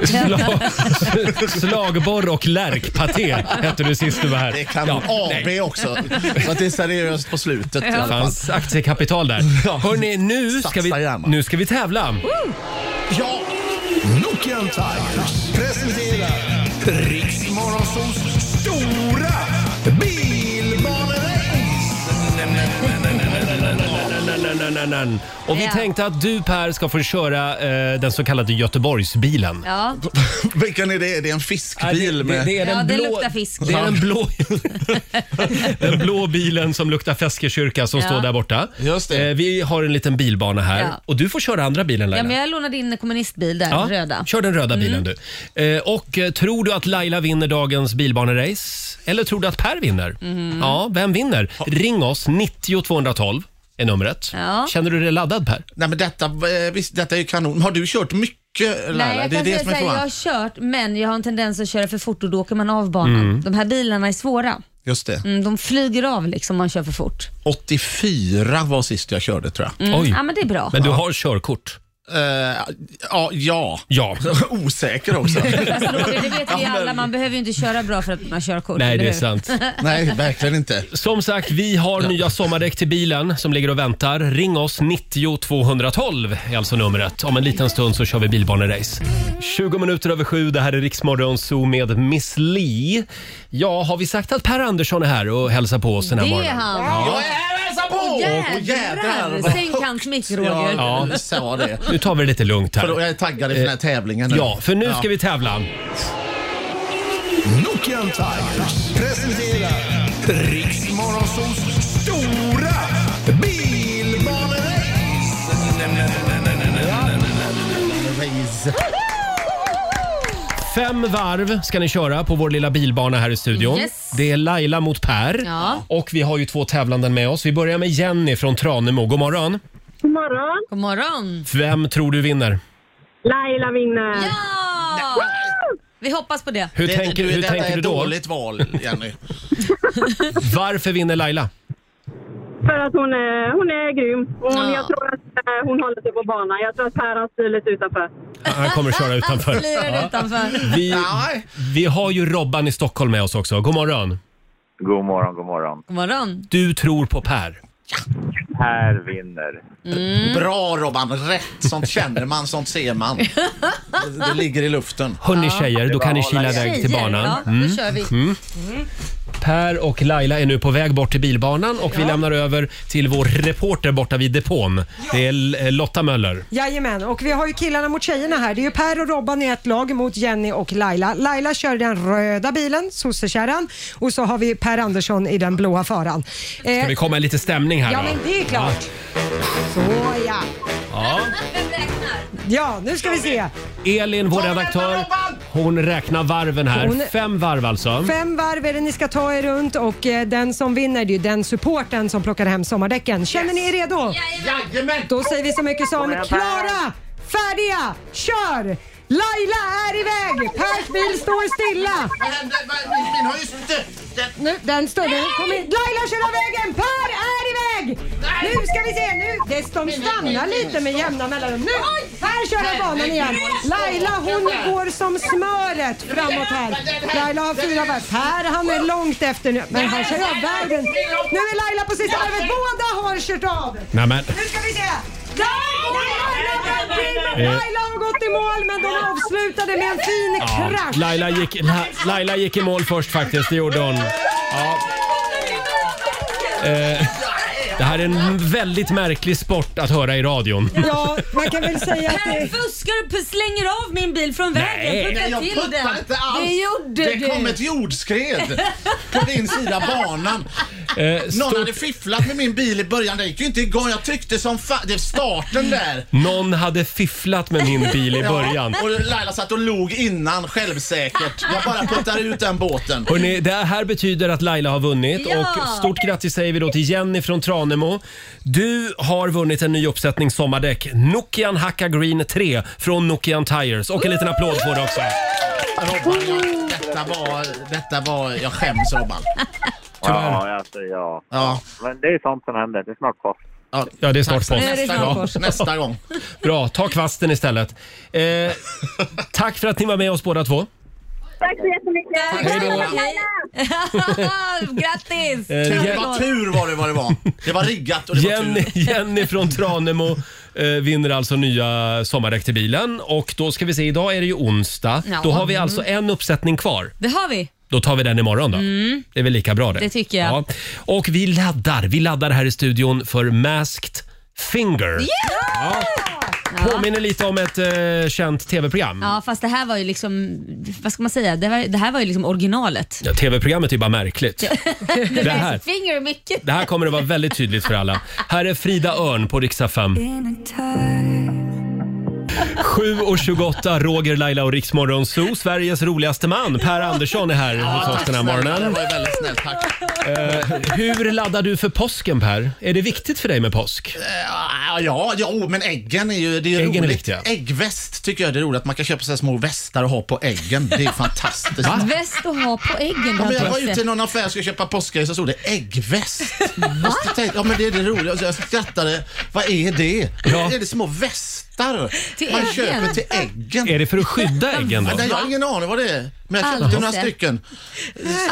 A: slag, slagborr och lärkpaté hette du sist du var här.
I: Det kan
A: Ja,
I: AB också. Så att det är seriöst på slutet. i alla
A: Det
I: fall.
A: fanns aktiekapital där. Hörni, nu ska vi,
I: Satsa gärna.
A: nu ska vi tävla.
I: Ja,
D: Nokian Tigers presenterar Riksmorgonsols stora bilbanerace.
A: Och vi
E: Ja.
A: tänkte att du Per ska få köra eh, den så kallade Göteborgsbilen.
E: Ja.
I: vilken är det? Det är en fiskbil
A: det,
I: med...
A: det, det är den
E: Ja, det
A: blå,
E: luktar fisk.
A: Det är den blå, den blå bilen som luktar Feskekyrka som
E: Ja.
A: står där borta.
I: Just det.
A: Eh, vi har en liten bilbana här
E: Ja.
A: och du får köra andra bilen Laila.
E: ja, men jag lånade in en kommunistbil där,
A: Ja,
E: röda. Mm.
A: Kör den röda bilen du. Eh, och eh, tror du att Laila vinner dagens bilbanerace? Eller tror du att Per vinner?
E: Mhm.
A: Ja, vem vinner? Ring oss, 90 212 är numret.
E: Ja.
A: Känner du dig laddad Per?
I: Nej, men detta, eh, visst, detta är ju kanon. Har du kört mycket Laila?
E: Nej, jag
I: det är
E: kan
I: det
E: säga
I: som är
E: såhär, jag
I: frågan.
E: har kört men jag har en tendens att köra för fort och då åker man av banan.
I: Mm.
E: De här bilarna är svåra.
I: Just det.
E: Mm, de flyger av liksom om man kör för fort.
I: 84 var sist jag körde tror jag.
E: Mm.
A: Oj.
E: Ja, men det är bra.
A: Men du har körkort?
I: Eh, ja, ja.
A: Ja.
I: Osäker också.
E: Roger, Det vet vi alla, man behöver ju inte köra bra för att man har körkort.
A: Nej,
E: eller
A: det är
E: hur?
A: sant.
I: Nej, verkligen inte.
A: Som sagt, vi har nya sommardäck till bilen som ligger och väntar. Ring oss, 90 212 är alltså numret. Om en liten stund så kör vi bilbanerace. 20 minuter över sju, det här är Riksmorgon Zoo med Miss Li. Ja, har vi sagt att Per Andersson är här och hälsar på oss den här
E: Det är
A: morgonen?
E: han.
I: Jag är här och hälsar på!
E: Jädrar!
I: Åh, jädrar, vad
E: Sänk hans mick Roger.
I: Ja, du sa det.
A: Nu tar vi det lite lugnt
I: För då
A: här.
I: är jag taggad inför den här
E: Eh,
I: tävlingen nu.
A: Ja, för nu ska vi tävla.
D: Nokian Tigers presenterar Riksmorgonsols stora bilbanerace.
I: Race.
A: Fem varv ska ni köra på vår lilla bilbana här i studion.
E: Yes.
A: Det är Laila mot Per.
E: Ja.
A: Och vi har ju två tävlande med oss. Vi börjar med Jenny från Tranemo. God morgon.
G: God morgon.
E: God morgon.
A: Vem tror du vinner?
G: Laila vinner.
E: Ja! Vi hoppas på det.
A: Hur
I: Det-
A: tänker, hur
I: detta är
A: tänker du
I: ett
A: då?
I: dåligt val, Jenny.
A: Varför vinner Laila?
G: För att hon är, hon är grym. Och hon,
E: Ja.
G: Mm, Jag tror att eh, hon håller sig på banan. Jag tror att Per har stulit utanför.
A: Han kommer köra utanför.
E: Lirar utanför.
A: Vi,
I: Nej.
A: vi har ju Robban i Stockholm med oss också. God morgon.
K: God morgon, god morgon.
E: God morgon.
A: Du tror på Per.
K: Per vinner.
A: Mm.
I: Bra Robban, rätt. Sånt känner man, sånt ser man. Det, det ligger i luften.
A: Hörni tjejer, då kan ni kila iväg till
E: Tjejer,
A: banan.
E: ja, då kör vi.
A: Per och Laila är nu på väg bort till bilbanan och vi lämnar över till vår reporter borta vid depån. Det är L- eh, Lotta Möller.
B: Jajamän, och vi har ju killarna mot tjejerna här. Det är ju Per och Robban i ett lag mot Jenny och Laila. Laila kör den röda bilen, sossekärran, och så har vi Per Andersson i den blåa faran. Eh,
A: Ska vi komma i lite stämning här
B: Ja,
A: då?
B: men det är klart. Så ja.
A: Ja.
B: Ja, nu ska vi se.
A: Elin, vår redaktör, hon räknar varven här.
B: Hon-
A: Fem varv alltså.
B: Fem varv är det ni ska ta er runt och eh, den som vinner det är ju den supporten som plockar hem sommardäcken. Känner ni er redo?
I: Jajamän!
B: Då säger vi så mycket som klara, färdiga, kör! Laila är iväg! Pers bil står stilla!
I: Vad hände? Vad- Min, min har ju stött. Den-
B: Nu, den står nu. Kom in. Laila kör av vägen! Per är iväg! Nu ska vi se. Nu. Det de stannar lite med jämna mellanrum. Nu! Per kör av banan igen. Laila hon går som smöret framåt här. Laila har fyra varv. Per han är långt efter nu. Men han kör av vägen. Nu är Laila på sista varvet. Båda har kört av.
A: Nej, men.
B: Nu ska vi se. Där! Laila vann teamet. Laila har gått i mål men de avslutade med en
A: Eh.
B: fin
A: Ja,
B: krasch.
A: Laila, gick, La, Laila gick i mål först faktiskt, det gjorde hon. Ja. Eh, Det här är en väldigt märklig sport att höra i radion.
B: Ja, man kan väl säga att
E: Här
B: det-
E: fuskar du slänger av min bil från
A: Nej.
E: vägen. Putta
I: Nej, jag
E: till
I: puttar
E: den.
I: inte alls.
E: Det gjorde
I: det
E: du.
I: kom ett jordskred på din sida banan. Någon hade fifflat med min bil i början. Det gick ju inte igång. Jag tryckte som fan. Det är starten där.
A: Någon hade fifflat med min bil i början.
I: Ja, och Laila satt och log innan självsäkert. Jag bara puttar ut den båten.
A: Hörrni, det här betyder att Laila har vunnit
I: Ja.
A: och stort grattis säger vi då till Jenny från Tranemo. Du har vunnit en ny uppsättning sommardäck. Nokian Hakka Green 3 från Nokian Tires. Och en liten applåd på det också.
I: Robban, jag, detta, var, detta var... Jag skäms Robban.
K: Ja, alltså, ja. ja. Men det är sånt som händer. Det är snart kvar.
I: Ja,
A: det är snart påsk.
I: Nästa gång. Nästa gång.
A: Bra, ta kvasten istället. Eh, tack för att ni var med oss båda två.
G: Tack så jättemycket!
A: Hej då.
E: Grattis!
A: Eh,
I: Tur
A: Jen-
I: var tur var det vad det var. Det var riggat och det var
A: Jenny,
I: tur.
A: Jenny från Tranemo eh, vinner alltså nya sommardäck till bilen. Och då ska vi se, idag är det ju onsdag.
E: Ja.
A: Då har vi
E: Mm.
A: alltså en uppsättning kvar.
E: Det har vi.
A: Då tar vi den imorgon då.
E: Mm.
A: Det är väl lika bra det?
E: Det tycker jag.
A: Ja. Och vi laddar. Vi laddar här i studion för Masked Finger. Ja. Påminner lite om ett eh, känt tv-program.
E: Ja, fast det här var ju liksom, vad ska man säga, det, var, det här var ju liksom originalet.
A: Ja, tv-programmet är ju bara märkligt.
E: det
A: Det här-
E: här. Finger är mycket.
A: Det här kommer att vara väldigt tydligt för alla. Här är Frida Örn på riksdag 5. 7.28, Roger, Laila och Riksmorgon Zoo. Sveriges roligaste man, Per Andersson, är här hos oss den här
I: snälla. Det
A: morgonen.
I: var ju väldigt snällt. Tack.
A: Eh, hur laddar du för påsken, Per? Är det viktigt för dig med påsk?
I: Ja, Ja, jo, men äggen är ju det är ju
A: Äggen är
I: roligt.
A: viktiga.
I: Äggväst tycker jag det är roligt. Att man kan köpa så här små västar och ha på äggen. Det är fantastiskt.
E: Väst att ha på äggen.
I: Ah. Ja,
E: har
I: men jag
E: jag
I: var
E: sett.
I: ute i någon affär och skulle köpa påskägg så stod det äggväst. Och så tänkte jag, Ja men det är det roliga. Så jag skrattade. Vad är det? Är det små västar
E: Till
I: man
E: äggen?
I: köper till äggen?
A: Är det för att skydda äggen då?
I: Ja, nej, jag har ingen aning vad det är. Men jag köpte
E: Aldrig
I: några
E: sett.
I: stycken.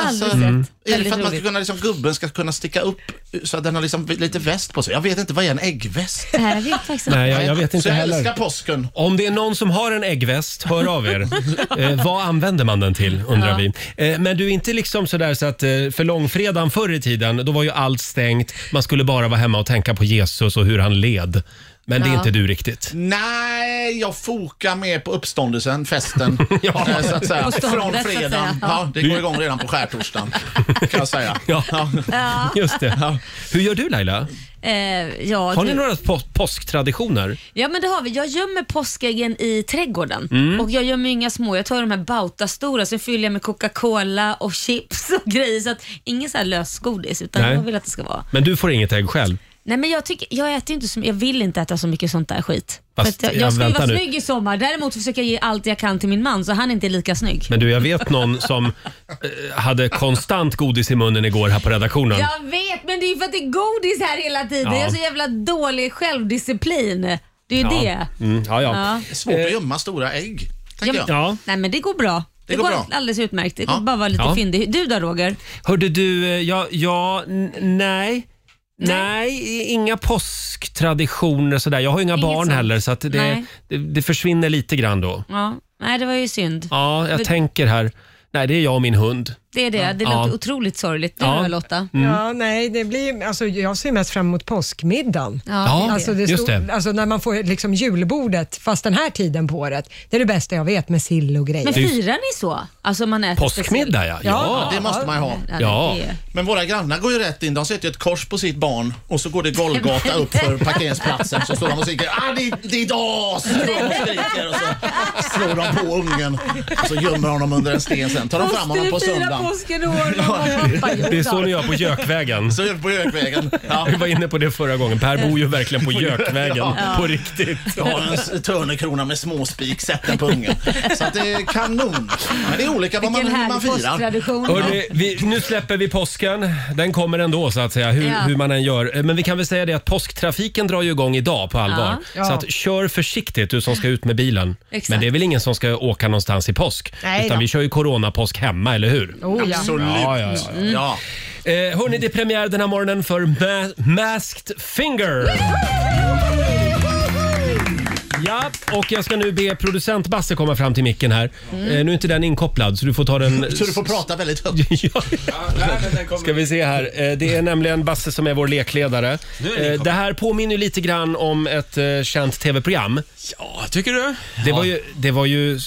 E: Aldrig
I: Mm.
E: sett.
I: Är det
E: Väldigt
I: för att man ska
E: roligt.
I: kunna, liksom, gubben ska kunna sticka upp så att den har liksom lite väst på sig? Jag vet inte, vad är en äggväst?
E: Det här vet jag faktiskt inte.
A: Nej, jag, jag vet
I: så
A: inte
I: jag
A: heller.
I: älskar påsken.
A: Om det är någon som har en äggväst, hör av er. Eh, vad använder man den till, undrar
E: Ja.
A: vi. Eh, men du är inte liksom sådär så att eh, för långfredagen förr i tiden, då var ju allt stängt. Man skulle bara vara hemma och tänka på Jesus och hur han led. Men det är
I: Ja.
A: inte du riktigt.
I: Nej, jag fokar mer på uppståndelsen, festen, eh, så att säga.
E: På ståndet,
I: Från
E: så att säga.
I: fredagen. Ja, det går igång redan på skärtorsdagen, kan jag säga.
A: Ja,
E: Ja.
A: just det. Hur gör du Laila?
E: Eh, ja,
A: Har ni
E: du-
A: några po- påsktraditioner?
E: Ja men det har vi. Jag gömmer påskäggen i trädgården
A: Mm.
E: och jag gömmer inga små. Jag tar de här Bauta-stora, sen fyller jag med Coca-Cola och chips och grejer. Så att ingen så här lösgodis utan
A: Nej.
E: jag vill att det ska vara.
A: Men du får inget ägg själv?
E: Nej men jag, tycker, jag äter ju inte så, jag vill inte äta så mycket sånt där skit. För
A: Fast
E: att jag,
A: jag
E: jag ska ju
A: väntar
E: vara
A: nu.
E: snygg i sommar. Däremot försöker jag ge allt jag kan till min man så han inte är lika snygg.
A: Men du, jag vet någon som eh, hade konstant godis i munnen igår här på redaktionen.
E: Jag vet men det är ju för att det är godis här hela tiden.
A: Ja.
E: Jag har så jävla dålig självdisciplin. Det är ju det.
A: Mm, ja, ja.
E: Ja.
I: Det är svårt
A: Eh.
I: att gömma stora ägg,
E: Ja,
I: tänker
E: men,
I: jag.
E: Nej men det går bra. Det,
I: går
E: går,
I: bra.
E: alldeles utmärkt. Det
I: Ja.
E: går bara att vara lite
A: Ja.
E: fyndig. Du då Roger?
A: Hörde du, eh, ja, ja n- nej. Nej, i- inga påsktraditioner sådär. Jag har ju inga
E: Inget
A: barn
E: sånt.
A: heller så att det,
E: Nej.
A: det, det försvinner lite grann då.
E: Ja. Nej det var ju synd.
A: Ja, jag
E: Men-
A: tänker här. Nej, det är jag och min hund.
E: Det är det. Det
A: Ja.
E: låter otroligt sorgligt. Du
A: Ja.
E: då Lotta?
A: Mm.
B: Ja, nej, det blir, alltså, jag ser mest fram emot påskmiddagen.
E: Ja, Ja,
B: alltså, det
A: just
B: stod,
A: det.
B: Alltså, när man får liksom julbordet, fast den här tiden på året. Det är det bästa jag vet med sill och grejer.
E: Men
A: Det är ju-
E: firar ni så? Alltså man äter
A: Påskmiddag ja. ja.
I: Det måste man ju ha.
E: speciellt?
A: Ja.
E: det är-
I: Men våra grannar går ju rätt in. De sätter ju ett kors på sitt barn och så går det Golgata upp för parkeringsplatsen. Så står de och skriker ah, det, det är idag! Så står de och skriker och så slår de på ungen. Och så gömmer honom under en sten sen. Tar de fram honom på
E: Måste du fira
I: söndagen.
E: påsken i år? Mamma och pappa gjorde.
A: Det är så ni gör på Jökvägen.
I: Så gör vi på Jökvägen. Ja.
A: Vi var inne på det förra gången. Per bor ju verkligen på Jökvägen.
I: Ja.
A: På riktigt.
I: Jag har en s- törnekrona med småspik, sätt den på ungen. Så att det är kanon. Men det är olika vad man,
E: Vilken
I: hur
E: härlig
I: man firar.
E: påsktradition.
A: Hörrni, vi, nu släpper vi påsken. Den kommer ändå så att säga, hur,
E: Ja.
A: hur man än gör. Eh, Men vi kan väl säga det att påsktrafiken drar ju igång idag på allvar.
B: Ja.
A: Så
B: Ja.
A: att kör försiktigt du som ska ut med bilen.
E: Exakt.
A: Men det är väl ingen som ska åka någonstans i påsk?
B: Nej
A: utan
B: då.
A: vi kör ju coronapåsk hemma, eller hur?
B: Oh, ja.
I: Absolut. Mm.
A: Ja, ja, ja,
I: Ja.
A: Eh, hörni, det är premiär den här morgonen för Ma- Masked Finger. Ja, och jag ska nu be producent Basse komma fram till micken här.
I: Mm.
A: Eh, nu är inte den inkopplad så du får ta den...
I: Så du får prata väldigt högt.
A: Ska vi se här. Eh, Det är nämligen Basse som är vår lekledare.
I: Nu är det
A: Eh,
I: inkopplat.
A: Det här påminner ju lite grann om ett eh, känt tv-program. Ja, tycker du? Det var ju... Det var ju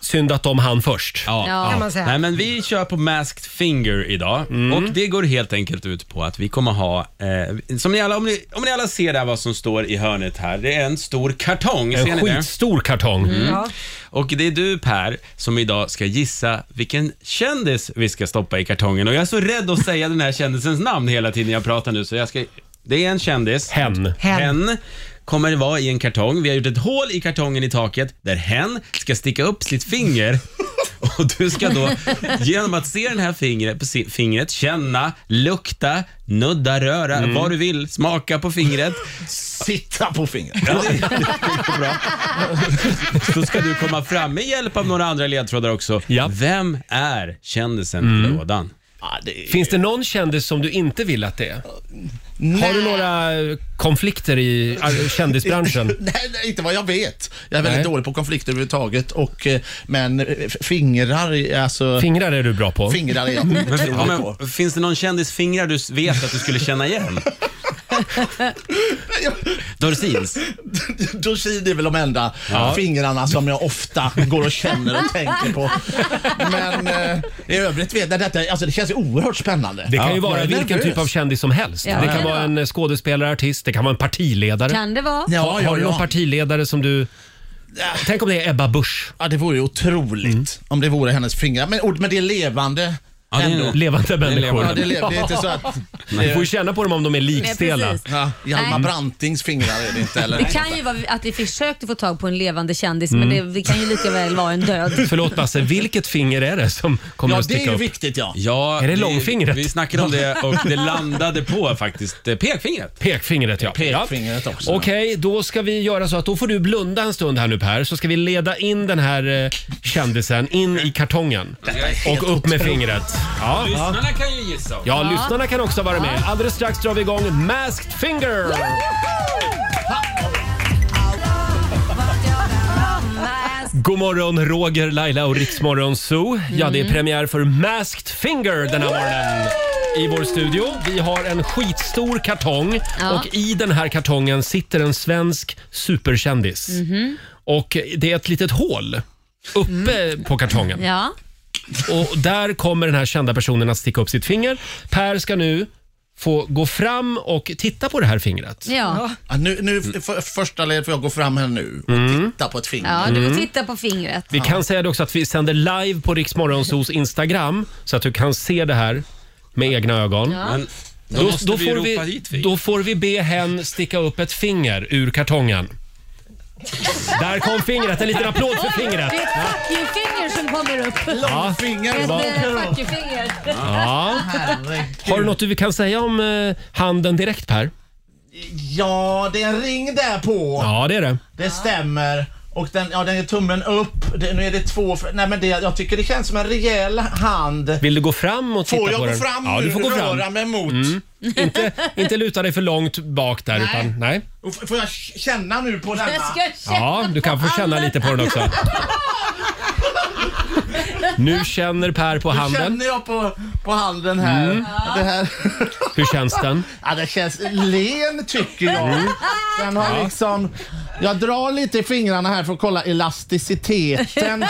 A: Synd att de hann först.
C: Ja.
B: Ja. Kan man säga.
C: Nej, men vi kör på Masked Finger idag och det går helt enkelt ut på att vi kommer ha, eh, som ni alla, om, ni, om ni alla ser där vad som står i hörnet här, det är en stor kartong.
A: En
C: ser ni det?
A: skitstor kartong.
C: Mm.
A: Ja.
C: Och det är du Per som idag ska gissa vilken kändis vi ska stoppa i kartongen. Och jag är så rädd att säga den här kändisens namn hela tiden jag pratar nu så jag ska... Det är en kändis.
A: Hen.
C: Hen. kommer det vara i en kartong. Vi har gjort ett hål i kartongen i taket där hen ska sticka upp sitt finger. Och du ska då genom att se den här fingret, på si- fingret känna, lukta, nudda, röra,
I: Mm.
C: vad du vill, smaka på fingret.
I: Sitta på fingret.
C: Ja, det, det är bra. Så ska du komma fram med hjälp av några andra ledtrådar också. Vem är kändisen i
A: Mm.
C: lådan?
A: Finns det någon kändis som du inte vill att det är? Har du några eh, konflikter i ar- kändisbranschen?
I: nej, nej, inte vad jag vet. Jag är väldigt
A: Nej.
I: dålig på konflikter överhuvudtaget. Och, eh, men eh, f- fingrar, är alltså...
A: Fingrar är du bra på.
I: Fingrar är jag
C: Men-
I: otroligt
C: ja, men
I: på.
C: Finns det någon kändis fingrar du s- vet att du skulle känna igen? Dorsins?
I: Dorsin är väl de enda
C: Ja.
I: fingrarna som jag ofta går och känner och tänker på. Men eh, i övrigt vet jag detta, alltså det känns ju oerhört spännande.
A: Det kan ju
I: Ja.
A: vara
I: Jag är
A: vilken
I: nervös.
A: typ av kändis som helst.
E: Ja,
A: det
E: det
A: kan
E: kan
A: vara en skådespelare, artist, det kan vara en partiledare.
E: Kan det vara?
A: Ja, har, har du någon partiledare som du... Tänk om det är Ebba Busch.
I: Ja, det vore ju otroligt om det vore hennes fingrar. Men, ord- men det är levande.
A: Mm. Ja, det är
I: ändå.
A: levande
I: Det är
A: människor.
I: levande. Ja, det, är lev- det är inte så att...
A: Man får ju känna på dem om de är likstela.
E: precis.
I: Ja, Hjalmar
E: Nej.
I: Brantings fingrar är det inte eller?
E: Det kan ju vara att vi försökte få tag på en levande kändis men
A: Mm.
E: det, det kan ju lika väl vara en död.
A: Förlåt Basse, vilket finger är det som kommer
E: Ja,
A: att
E: det är
A: sticka upp?
E: ju
I: viktigt ja.
C: Ja,
A: Är det
C: vi-
A: långfingret?
C: Vi snackade om det och det landade på faktiskt eh, pekfingret.
A: Pekfingret ja.
I: Pekfingret också.
A: Okej, då ska vi göra så att då får du blunda en stund här nu Per, så ska vi leda in den här eh, kändisen in i kartongen. Och upp med fingret. Ja.
C: Lyssnarna kan ju gissa. också.
A: Ja, lyssnarna kan också vara med. Alldeles strax drar vi igång Masked Finger! God morgon, Roger, Laila och Riksmorgon Zoo. Ja, det är
D: Mm.
A: premiär för Masked Finger den här morgonen i vår studio. Vi har en skitstor kartong
D: Ja.
A: och i den här kartongen sitter en svensk superkändis.
D: Mhm.
A: Och det är ett litet hål uppe
D: Mm.
A: på kartongen.
E: Ja.
A: Och där kommer den här kända personen att sticka upp sitt finger. Per ska nu få gå fram och titta på det här fingret.
E: Ja.
I: nu, nu, för, första ledet får jag gå fram här nu och titta på ett finger.
E: ja, du får
A: Mm.
E: titta på fingret.
A: Vi kan säga det också att vi sänder live på Riksmorgonsos Instagram så att du kan se det här med egna ögon.
E: Ja. Men
C: då måste vi
A: får
C: ropa hit fingret.
A: då får vi be hen sticka upp ett finger ur kartongen. Där kom fingret. En liten applåd för fingret.
E: Det är ett fuck you-finger som kommer upp.
A: Ja. Långfinger.
E: Ett
A: Ja.
E: eh, fuck you-finger.
A: Ja. Har du något du kan säga om eh, handen direkt Per?
I: Ja, det är en ring där på.
A: Ja, det är det.
I: Det stämmer. Och den, ja, den är tummen upp. Det, nu är det två... fr- Nej, men det, jag tycker det känns som en rejäl hand.
A: Vill du gå fram och titta
I: Får jag
A: på
I: gå
A: den?
I: fram
A: ja, du
I: nu?
A: får gå fram.
I: Röra mig mot?
A: Mm. Inte, inte luta dig för långt bak där
I: Nej.
A: utan nej.
I: Och f- Får jag k- känna nu på denna?
D: Jag ska
A: känna Ja, du kan få på känna handen. lite på den också. Nu känner Per på
I: Nu
A: handen.
I: känner jag på, på handen här.
A: Mm.
I: Det här.
A: Hur känns den?
I: Ja, den känns len tycker jag.
A: Mm.
I: Den har
A: Ja.
I: liksom... Jag drar lite i fingrarna här för att kolla elasticiteten.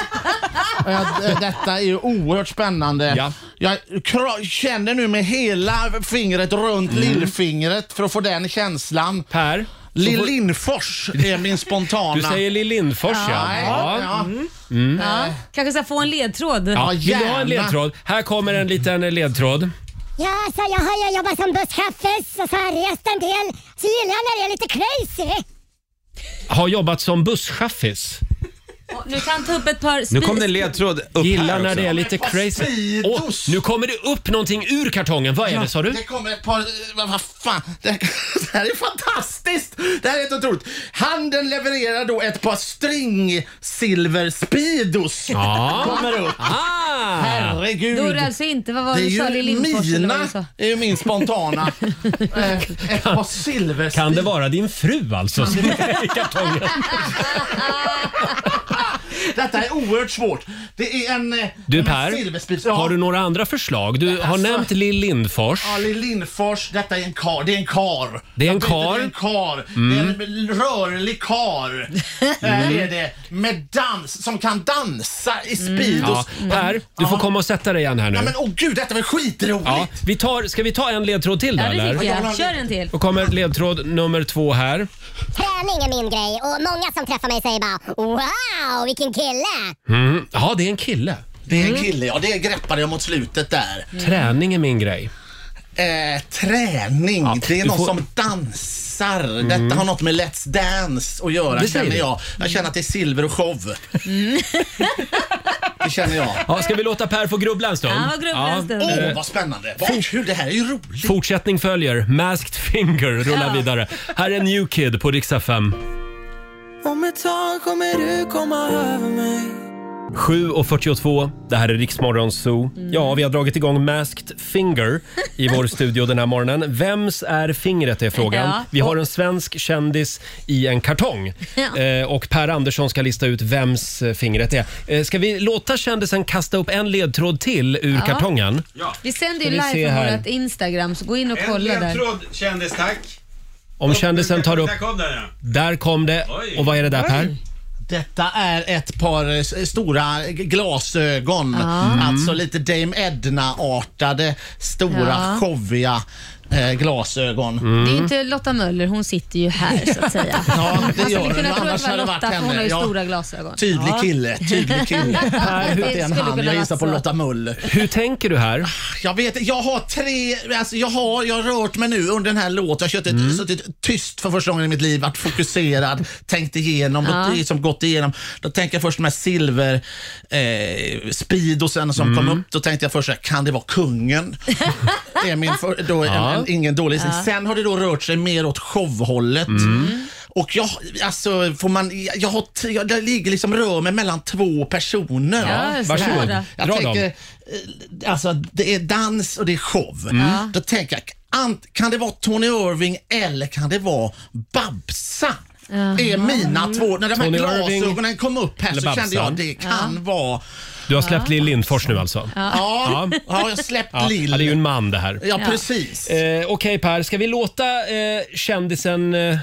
I: Och jag, detta är ju oerhört spännande.
D: Ja.
I: Jag kra- känner nu med hela fingret runt lillfingret för att få den känslan.
A: Mm. Per?
I: Lill
A: så får-
I: Lindfors är min spontana.
A: Du säger Lill Lindfors ja.
I: Nej, ja.
A: ja. Mm.
E: Ja. Kanske ska få en ledtråd.
A: Ja, vill du ha en ledtråd? Här kommer en liten ledtråd.
L: Ja, så jag har ju jobbat som busschaufför och så har jag rest en del. Så gillar jag när det är lite crazy.
A: Har jobbat som busschaffis.
E: Och Nu kan han ta upp ett par
C: Nu kom
E: spis-
C: det en ledtråd upp
A: Gillar
C: här
A: när
C: också.
A: det är lite crazy. Åh, nu kommer det upp någonting ur kartongen. Vad är det sa du?
I: Det kommer ett par... Vad vad fan? Det här, det här är fantastiskt! Det här är helt otroligt. Handeln levererar då ett par stringsilver-speedos.
D: Ja.
I: Kommer upp.
A: Ah.
I: Herregud.
E: Då är det alltså inte, vad var det
I: det är
E: du sa?
I: ju
E: Lillimport eller vad
I: mina,
E: du sa?
I: det är ju min spontana. eh, ett par silver
A: Kan det vara din fru alltså? som är i kartongen?
I: Detta är oerhört svårt. Det är en... eh,
A: Du
I: en
A: Per,
I: silverspis-
A: har du några andra förslag? Du har
I: Alltså-
A: nämnt Lill Lindfors.
I: Ali Lindfors, detta är en kar. Det är en kar.
A: Det är en
I: Jag vet inte,
A: kar.
I: Det är en kar.
A: Mm.
I: Det är en rörlig kar. Här är det. Med dans, som kan dansa i
A: Mm. Ja.
I: Speedos.
A: Per, du får komma och sätta dig igen här nu.
I: Mm. Ja, men åh gud, detta var skitroligt!
A: Ja, vi tar, ska vi ta en ledtråd till
E: Ja,
A: där?
E: det tycker
A: eller?
E: jag. Kör en till.
A: Då kommer ledtråd nummer två här.
L: Träning är min grej och många som träffar mig säger bara “Wow, vilken kille!”
A: Mm. Ja, det är en kille.
I: Det
A: Mm.
I: är en kille, ja. Det greppade jag mot slutet där.
A: Träning är min grej.
I: Eh, träning, det är
A: du
I: någon
A: får- Mm.
I: som dansar. Detta har något med Let's Dance att göra
A: Det säger
I: känner
A: du. Mm.
I: jag. Jag känner att det är silver och show. det känner jag.
A: Ja, ska vi låta Per få grubbla en stund?
I: Ja, vad grubbla en stund. Åh,
A: Eh,
I: vad spännande. Vad kul, det här är ju roligt.
A: Fortsättning följer. Masked Finger rullar
D: Ja.
A: vidare. Här är New Kid på Rix FM.
D: Om ett tag kommer du komma över mig
A: 7.42, det här är Riksmorgon Zoo.
D: Mm.
A: Ja, vi har dragit igång Masked Finger i vår studio den här morgonen. Vems är fingret är frågan.
D: Ja.
A: Vi har en svensk kändis i en kartong.
D: Ja.
A: Eh, och Per Andersson ska lista ut vems eh, fingret är. Eh, ska vi låta kändisen kasta upp en ledtråd till ur
E: Ja.
A: kartongen?
E: Vi sänder ju
A: Ska vi se
E: live på
A: här.
E: vårt Instagram, så gå in och kolla där.
C: kändis, tack.
A: Om kändisen tar upp...
C: Där kom den ja.
A: Där kom det. Och vad är det där Per?
I: Detta är ett par eh, s- stora g- glasögon.
A: Ah. Mm.
I: Alltså lite Dame Edna-artade, stora,
E: Ja. Mm.
I: showiga eh, glasögon.
E: Det är ju inte Lotta Möller, hon sitter ju här så att säga.
I: Ja, det
E: Man
I: gör
E: skulle kunna
I: hon.
E: tro att
I: Annars
E: Alltså, det var
I: hade det
E: Lotta, för
I: varit
E: hon
I: henne.
E: har ju
I: Ja.
E: stora glasögon.
I: Tydlig
E: Ja.
I: kille, tydlig kille. Per, det är en
E: skulle kunna
I: han. Jag
E: vara
I: gissar på
E: så.
I: Lotta Möller.
A: Hur tänker du här?
I: Jag vet jag har tre, alltså jag har, jag har rört mig nu under den här låten. Jag har suttit,
D: Mm.
I: suttit tyst för första gången i mitt liv, varit fokuserad, tänkt igenom,
D: Ja.
I: och liksom gått igenom. Då tänker jag först de här silver eh, speedosen som
D: Mm.
I: kom upp. Då tänkte jag först, så här, kan det vara kungen? det är min för, då,
D: Ja.
I: en, en, ingen dålig gissning.
D: Ja.
I: Sen har det då rört sig mer åt showhållet.
D: Mm.
I: Och jag, alltså, får man, jag, jag, har t- jag, jag ligger liksom rör mig mellan två personer.
D: Ja, Ja, varsågod. sådär.
I: Jag
D: Dra
I: tänker,
D: dem.
I: eh, alltså det är dans och det är show.
D: Mm.
I: Då tänker jag, ant- kan det vara Tony Irving eller kan det vara Babsa? är mina två, när de här
A: Tony Irving
I: glasögonen kom upp här
A: eller
I: så
A: Babsa?
I: kände jag det kan vara...
A: Du har släppt Lill Lindfors nu alltså?
I: Ja. Ja. Ja, jag har släppt
A: ja.
I: Lill.
A: Ja, det är ju en man det här.
I: Ja, precis.
A: Eh, Okej Per, ska vi låta eh, kändisen eh,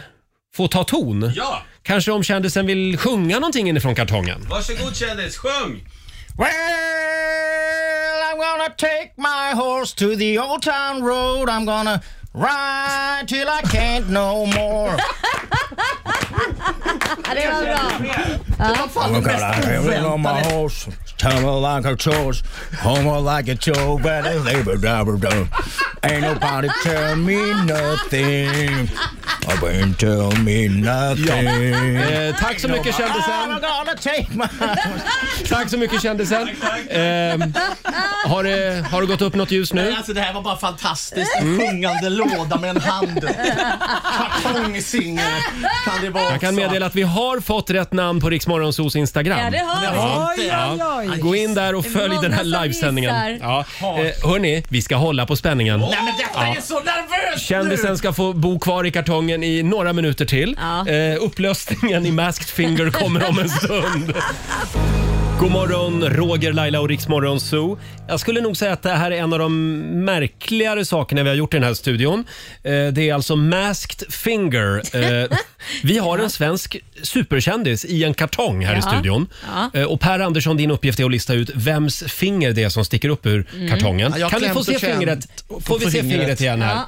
A: få ta ton?
C: Ja.
A: Kanske om kändisen vill sjunga någonting inifrån kartongen?
C: Varsågod kändis, sjung!
D: Well, I'm gonna take my horse to the old town road I'm gonna ride till I can't no more
E: det var bra.
D: Oh my god, I haven't on my horse Tumble like a toss, humble like a choke, but it's labor dabber done. Ain't nobody tell me nothing. I ain't tell me nothing.
A: Eh, tack så mycket kändisen. Tack så mycket kändisen. Ehm, har, det, har det gått upp något ljus nu?
I: Alltså det här var bara fantastiskt.
A: Mm.
I: En sjungande låda med en hand. Kartongsingel kan det vara
A: Jag kan
I: också.
A: meddela att vi har fått rätt namn på Riksmorgonsos Instagram.
E: Ja, det har vi. Oj, oj, oj.
A: Gå in där och
E: Det är
A: följ
E: många
A: den här
E: som
A: livesändningen. Ja.
E: gissar.
A: Eh, hörni, vi ska hålla på spänningen.
I: Nej men detta är så nervöst
A: Kändisen ska få bo kvar i kartongen i några minuter till. Eh, upplösningen i Masked Finger kommer om en stund. God morgon, Roger, Laila och Riksmorgon Zoo. Jag skulle nog säga att det här är en av de märkligare sakerna vi har gjort i den här studion. Eh, det är alltså Masked Finger. Eh, vi har en svensk superkändis i en kartong här i
E: Ja.
A: studion.
E: Ja.
A: Eh, och Per Andersson, din uppgift är att lista ut vems finger det är som sticker upp ur
E: Mm.
A: kartongen.
I: Ja, jag har
A: kan vi få
I: klämt
A: se
I: och känt
A: fingret?
I: på-
A: Får vi
I: på
A: se
I: fingret.
A: fingret igen här?
E: Ja.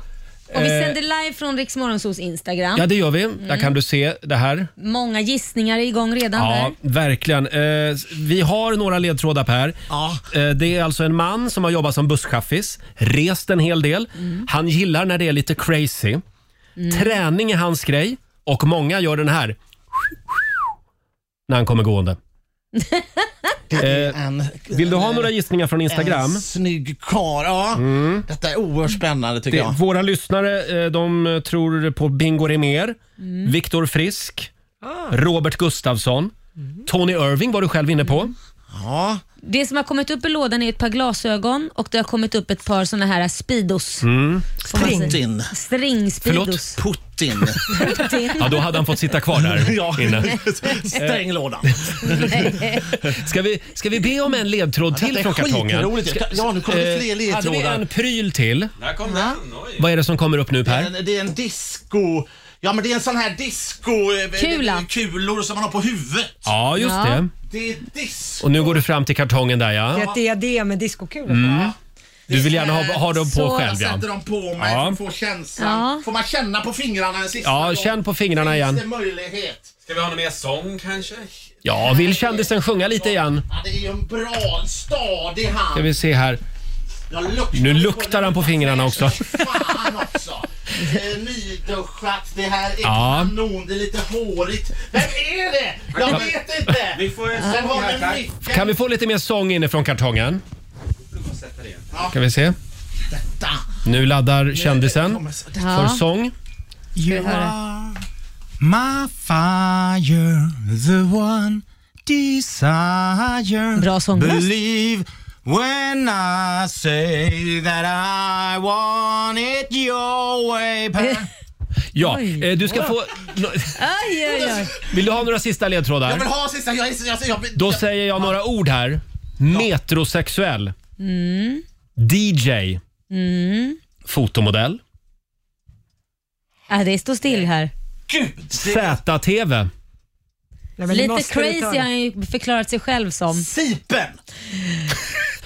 E: Och vi
A: Eh,
E: sänder live från Rix Morgonzos Instagram.
A: Ja, det gör vi. Där kan du se det här.
E: Många gissningar är igång redan
A: Ja,
E: där.
A: verkligen. Eh, vi har några ledtrådar Per.
I: Ja.
A: Eh, det är alltså en man som har jobbat som busschaffis, rest en hel del. Han gillar när det är lite crazy. Träning är hans grej och många gör den här när han kommer gående. Eh, vill du ha några gissningar från Instagram? Mm.
I: En snygg karl. Ja, detta är oerhört spännande
A: Det,
I: tycker jag.
A: våra lyssnare eh, de tror på Bingo Rimér, Viktor Frisk, Robert Gustafsson, Tony Irving var du själv inne på.
I: Ja.
E: Det som har kommit upp i lådan är ett par glasögon och det har kommit upp ett par såna här Speedos.
A: Mm.
E: Som man säger.
I: Putin.
E: String Speedos.
A: Förlåt?
I: Putin.
E: Putin.
A: Ja, då hade han fått sitta kvar där inne. Eh.
I: Stäng lådan.
A: Ska vi, ska vi be om en ledtråd till
I: är
A: från kartongen?
I: skitroligt. Ja, nu kommer det
A: eh,
I: fler
A: Hade vi
I: ledtrådar.
A: en pryl till?
C: Där kom den.
A: Vad är det som kommer upp nu Per?
I: En, det är en disco... Ja, men det är en sån här disco... eh,
E: Kula.
I: Kulor som man har på huvudet.
A: Ja, just
E: Ja.
A: det.
I: Det är disco.
A: Och nu går du fram till kartongen där
B: Det
A: ja.
B: är ett diadem med diskokulor.
A: Mm. Du vill gärna ha, ha dem på
I: Så
A: själv
I: jag
A: ja.
I: sätter dem på mig
A: Ja.
I: för att få känslan.
E: Ja.
I: Får man känna på fingrarna en sista
A: Ja,
I: gång?
A: känn på fingrarna
I: Finns
A: igen.
I: det möjlighet?
C: Ska vi ha någon mer sång kanske?
A: Ja, vill kändisen sjunga lite igen?
I: Ja, det är ju en bra, en stadig hand.
A: Ska vi se här.
I: Jag luktar
A: Nu
I: på
A: luktar han på fingrarna också.
I: Fan också! Eh, Nyduschat, det här är
A: Ja.
I: kanon, det är lite hårigt. Vem är det? Jag vet inte!
C: Vi får en
I: Den
C: sång
I: har
C: här,
I: med
C: tack.
I: micken.
A: Kan vi få lite mer sång inifrån kartongen? Kan vi se. Nu laddar kändisen för
E: Ja.
A: sång.
E: vi
D: You
E: höra?
D: are my fire, the one desire.
E: Bra sångröst.
D: Believe when I say that I want it your way. Per.
A: Ja, eh, du ska få...
E: Aj, aj, aj.
A: Vill du ha några sista
I: Jag
A: ledtrådar?
I: vill ha sista, jag, jag, jag, jag,
A: Då säger jag några ord här. Metrosexuell. Mm. DJ.
E: Mm.
A: Fotomodell.
E: Ja, det står still här.
A: ZTV.
B: Nej, men nu
E: Lite
B: måste du ta
E: crazy har
B: den.
E: han ju förklarat sig själv som.
I: Sipen!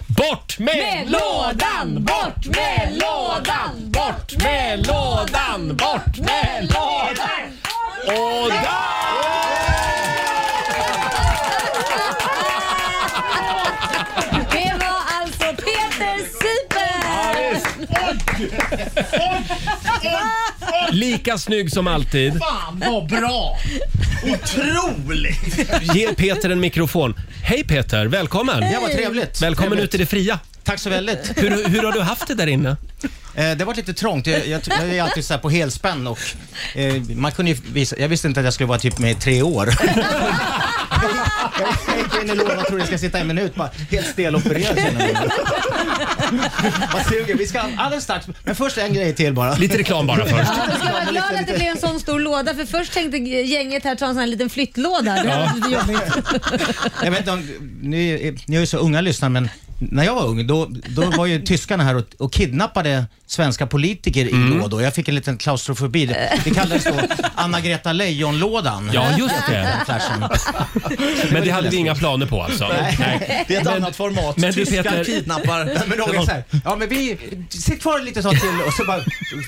A: Bort med
E: Med
A: lådan! Bort med lådan! Bort med lådan! Bort med lådan! Och där!
E: Det var alltså Peter Sipen!
A: Lika snygg som alltid.
I: Fan vad bra! Otroligt!
A: Ge Peter en mikrofon. Hej Peter, välkommen!
M: Ja, vad trevligt.
A: Välkommen ut
M: trevligt.
A: i det fria.
M: Tack så väldigt. Eh,
A: Hur, hur har du haft det där inne?
M: det har varit lite trångt. Jag, jag, jag är alltid så här på helspänn och eh, man kunde ju visa, jag visste inte att jag skulle vara typ med i tre år. jag gick in i lådan och trodde jag ska sitta en minut bara helt stelopererad känner jag mig. Vad suger. Vi ska alldeles strax, men först en grej till bara.
A: Lite reklam bara först.
E: Ja, du ska vara glad att det blev en sån stor låda för först tänkte gänget här ta en sån här liten flyttlåda. Det hade blivit jobbigt.
M: Jag vet inte om, ni, ni är ju så unga lyssnare, men när jag var ung, då, då var ju tyskarna här och, och kidnappade svenska politiker i lådor. Jag fick en liten klaustrofobi. Det, det kallades då Anna-Greta Leijon-lådan.
A: Ja, just det.
M: Den flashen.
A: Men det hade vi inga planer på alltså. Nej.
I: Det är ett annat format.
A: men du,
I: Tyskar
A: Peter-
I: kidnappar.
M: Men de är så här, ja men vi, sitt kvar lite tag till och så bara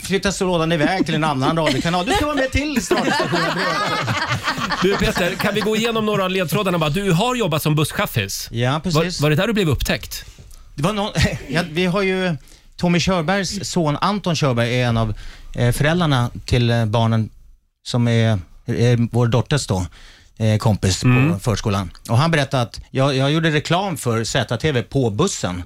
M: flyttas lådan iväg till en annan radiokanal. Du ska vara med till radiostationen bredvid.
A: Du Peter, kan vi gå igenom några av ledtrådarna? bara? Du har jobbat som busschaffis.
M: Ja, precis.
A: Var, var det där du blev upptäckt?
M: Det var någon, ja, vi har ju Tommy Körbergs son Anton Körberg är en av eh, föräldrarna till eh, barnen som är, är vår dotters då, eh, kompis på förskolan. Och han berättade att jag, jag gjorde reklam för ZTV på bussen.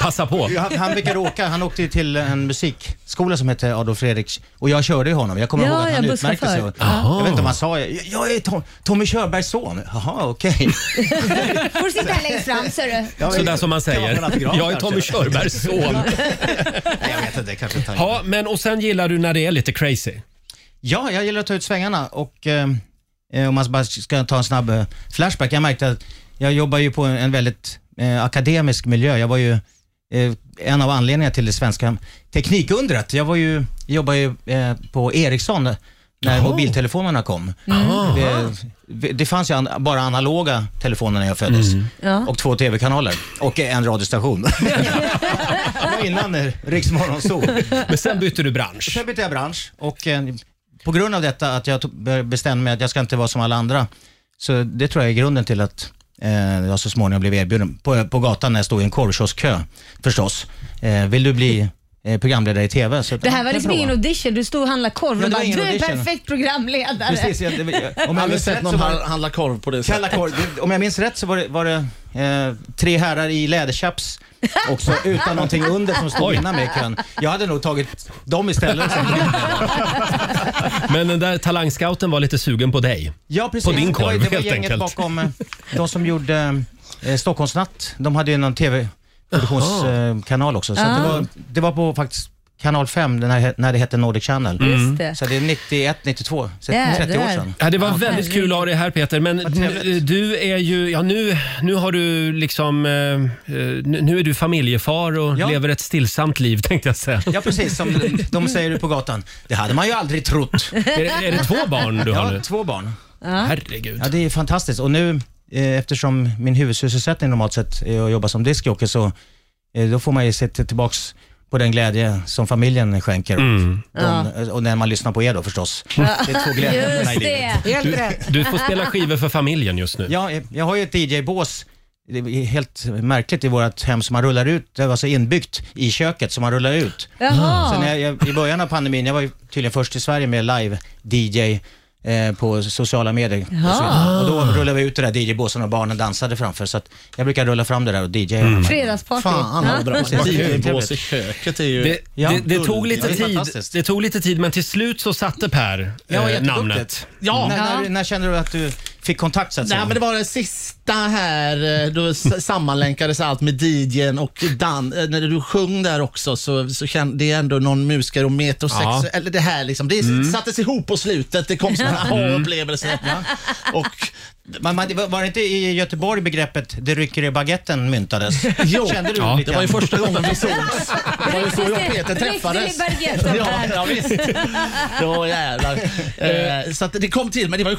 A: Passa på.
M: Han, han brukar åka, han åkte ju till en musikskola som hette Adolf Fredriks och jag körde ju honom. Jag kommer
E: Ja,
M: ihåg att han
E: ja,
M: utmärkte sig.
E: busschaufför.
A: Aha.
M: Jag vet inte om han sa, jag, jag är Tom, Tommy Körbergs son. Jaha, okej.
E: Får du sitta här längst fram ser du.
M: Ja,
A: Sådär som man
M: kan få en
A: säger.
M: autograf
A: Jag är
M: kanske?
A: Tommy Körbergs son.
M: Jag vet inte, kanske inte han
A: Ja, men och sen gillar du när det är lite crazy.
M: Ja, jag gillar att ta ut svängarna och eh, eh, om man bara ska ta en snabb eh, flashback. Jag märkte att jag jobbar ju på en väldigt eh, akademisk miljö. Jag var ju eh, en av anledningarna till det svenska teknikundret. Jag var ju, jobbade ju eh, på Ericsson när mobiltelefonerna kom.
A: Ah.
M: Det, det fanns ju an, bara analoga telefoner när jag föddes
E: Ja.
M: och två tv-kanaler och en radiostation. det var innan eh, Rix Morgon Zoo.
A: Men sen bytte du bransch.
M: Sen bytte jag bransch och eh, på grund av detta att jag tog- bör- bestämde mig att jag ska inte vara som alla andra. Så det tror jag är grunden till att eh, jag så småningom blev erbjuden på, på gatan när jag stod i en korvkioskkö förstås. Eh, vill du bli eh, programledare i TV. Så
E: Det här var
M: jag
E: liksom
M: provar.
E: ingen audition. Du stod och handlade korv
M: Ja, det
E: och bara,
M: var ingen
E: du är
M: audition.
E: perfekt programledare.
M: Precis, ja, det- om jag
I: Aldrig
M: minns
I: sett
M: rätt
I: någon
M: så var
I: han-
M: det-
I: handla korv på det
M: Kalla korv. Det- Om jag minns rätt så var det, var det eh, tre herrar i läderchaps också utan någonting under som stod
A: Oj.
M: innan mig i kön. Jag hade nog tagit dem istället. Som
A: Men den där talangscouten var lite sugen på dig.
M: Ja, precis.
A: På din
M: Det var-
A: korv
M: det var
A: helt
M: gänget
A: enkelt.
M: bakom eh, de som gjorde eh, Stockholmsnatt. De hade ju någon
A: Jaha.
M: tv-produktionskanal också. Så
E: Ah.
M: det, var, det var på faktiskt kanal 5 den här, när det hette Nordic Channel.
A: Just
E: Mm. det.
M: Så det är 91, 92, så
E: Jädrar.
M: 30 år sedan.
A: Ja, det var väldigt kul att ha dig här Peter, men n- du är ju, ja nu, nu har du liksom, eh, eh, nu- nu är du familjefar och
M: Ja.
A: lever ett stillsamt liv tänkte jag säga.
M: Ja, precis. Som de säger på gatan. Det hade man ju aldrig trott.
A: Är det- är det två barn du
M: ja,
A: har nu?
M: Ja, två barn.
A: Herregud.
M: Ja, det är fantastiskt. Och nu, eh, eftersom min huvudsysselsättning normalt sett är att jobba som diskjockey, så eh, då får man ju se till- tillbaks på den glädje som familjen skänker.
A: Mm.
M: De, eh, Och när man lyssnar på er då förstås. Det är två glädjer i
E: Just
M: livet.
E: det.
B: Helt
A: Du,
B: rätt.
A: du får spela skivor för familjen just nu.
M: Ja, eh, jag har ju ett DJ-bås. Det är helt märkligt i vårt hem som man rullar ut, det var alltså inbyggt i köket som man rullar ut.
E: Jaha.
M: Sen när jag, I början av pandemin, jag var ju tydligen först i Sverige med live-DJ eh, på sociala medier.
E: Jaha.
M: Och då rullade vi ut det där DJ-båsen och barnen dansade framför. Så att jag brukar rulla fram det där och DJ. Mm.
E: Fredagsparty. Ja.
I: DJ-bås i köket är ju...
A: Det,
M: Ja.
A: det, det, tog
M: Det
A: lite
M: är
A: tid,
M: fantastiskt.
A: det tog lite tid, men till slut så satte Per
M: Ja,
A: eh,
M: jätteduktigt.
A: namnet.
I: Ja.
M: När, när, när kände du att du fick kontakt så att
I: Nej,
M: säga?
I: men det var det sista här, eh, då s- sammanlänkades allt med DJn och Dan. eh, När du sjöng där också så, så kände det är ändå någon muskar och
A: Ja.
I: sex, eller det här liksom. Det sattes ihop på slutet, det kom som en aha-upplevelse. Och
M: Man, man, Mm. det var var det inte i Göteborg begreppet “det rycker i baguetten” myntades?
I: Jo.
M: Kände du
A: Ja,
M: lite
I: det var ju
M: grann?
I: första gången vi sågs. Det var ju så jag och Peter
E: Riktigt
I: träffades.
E: i baguetten,
I: ja,
E: Per.
I: ja, visst. Ja, jävlar. Eh, Så att det kom till, men det var ju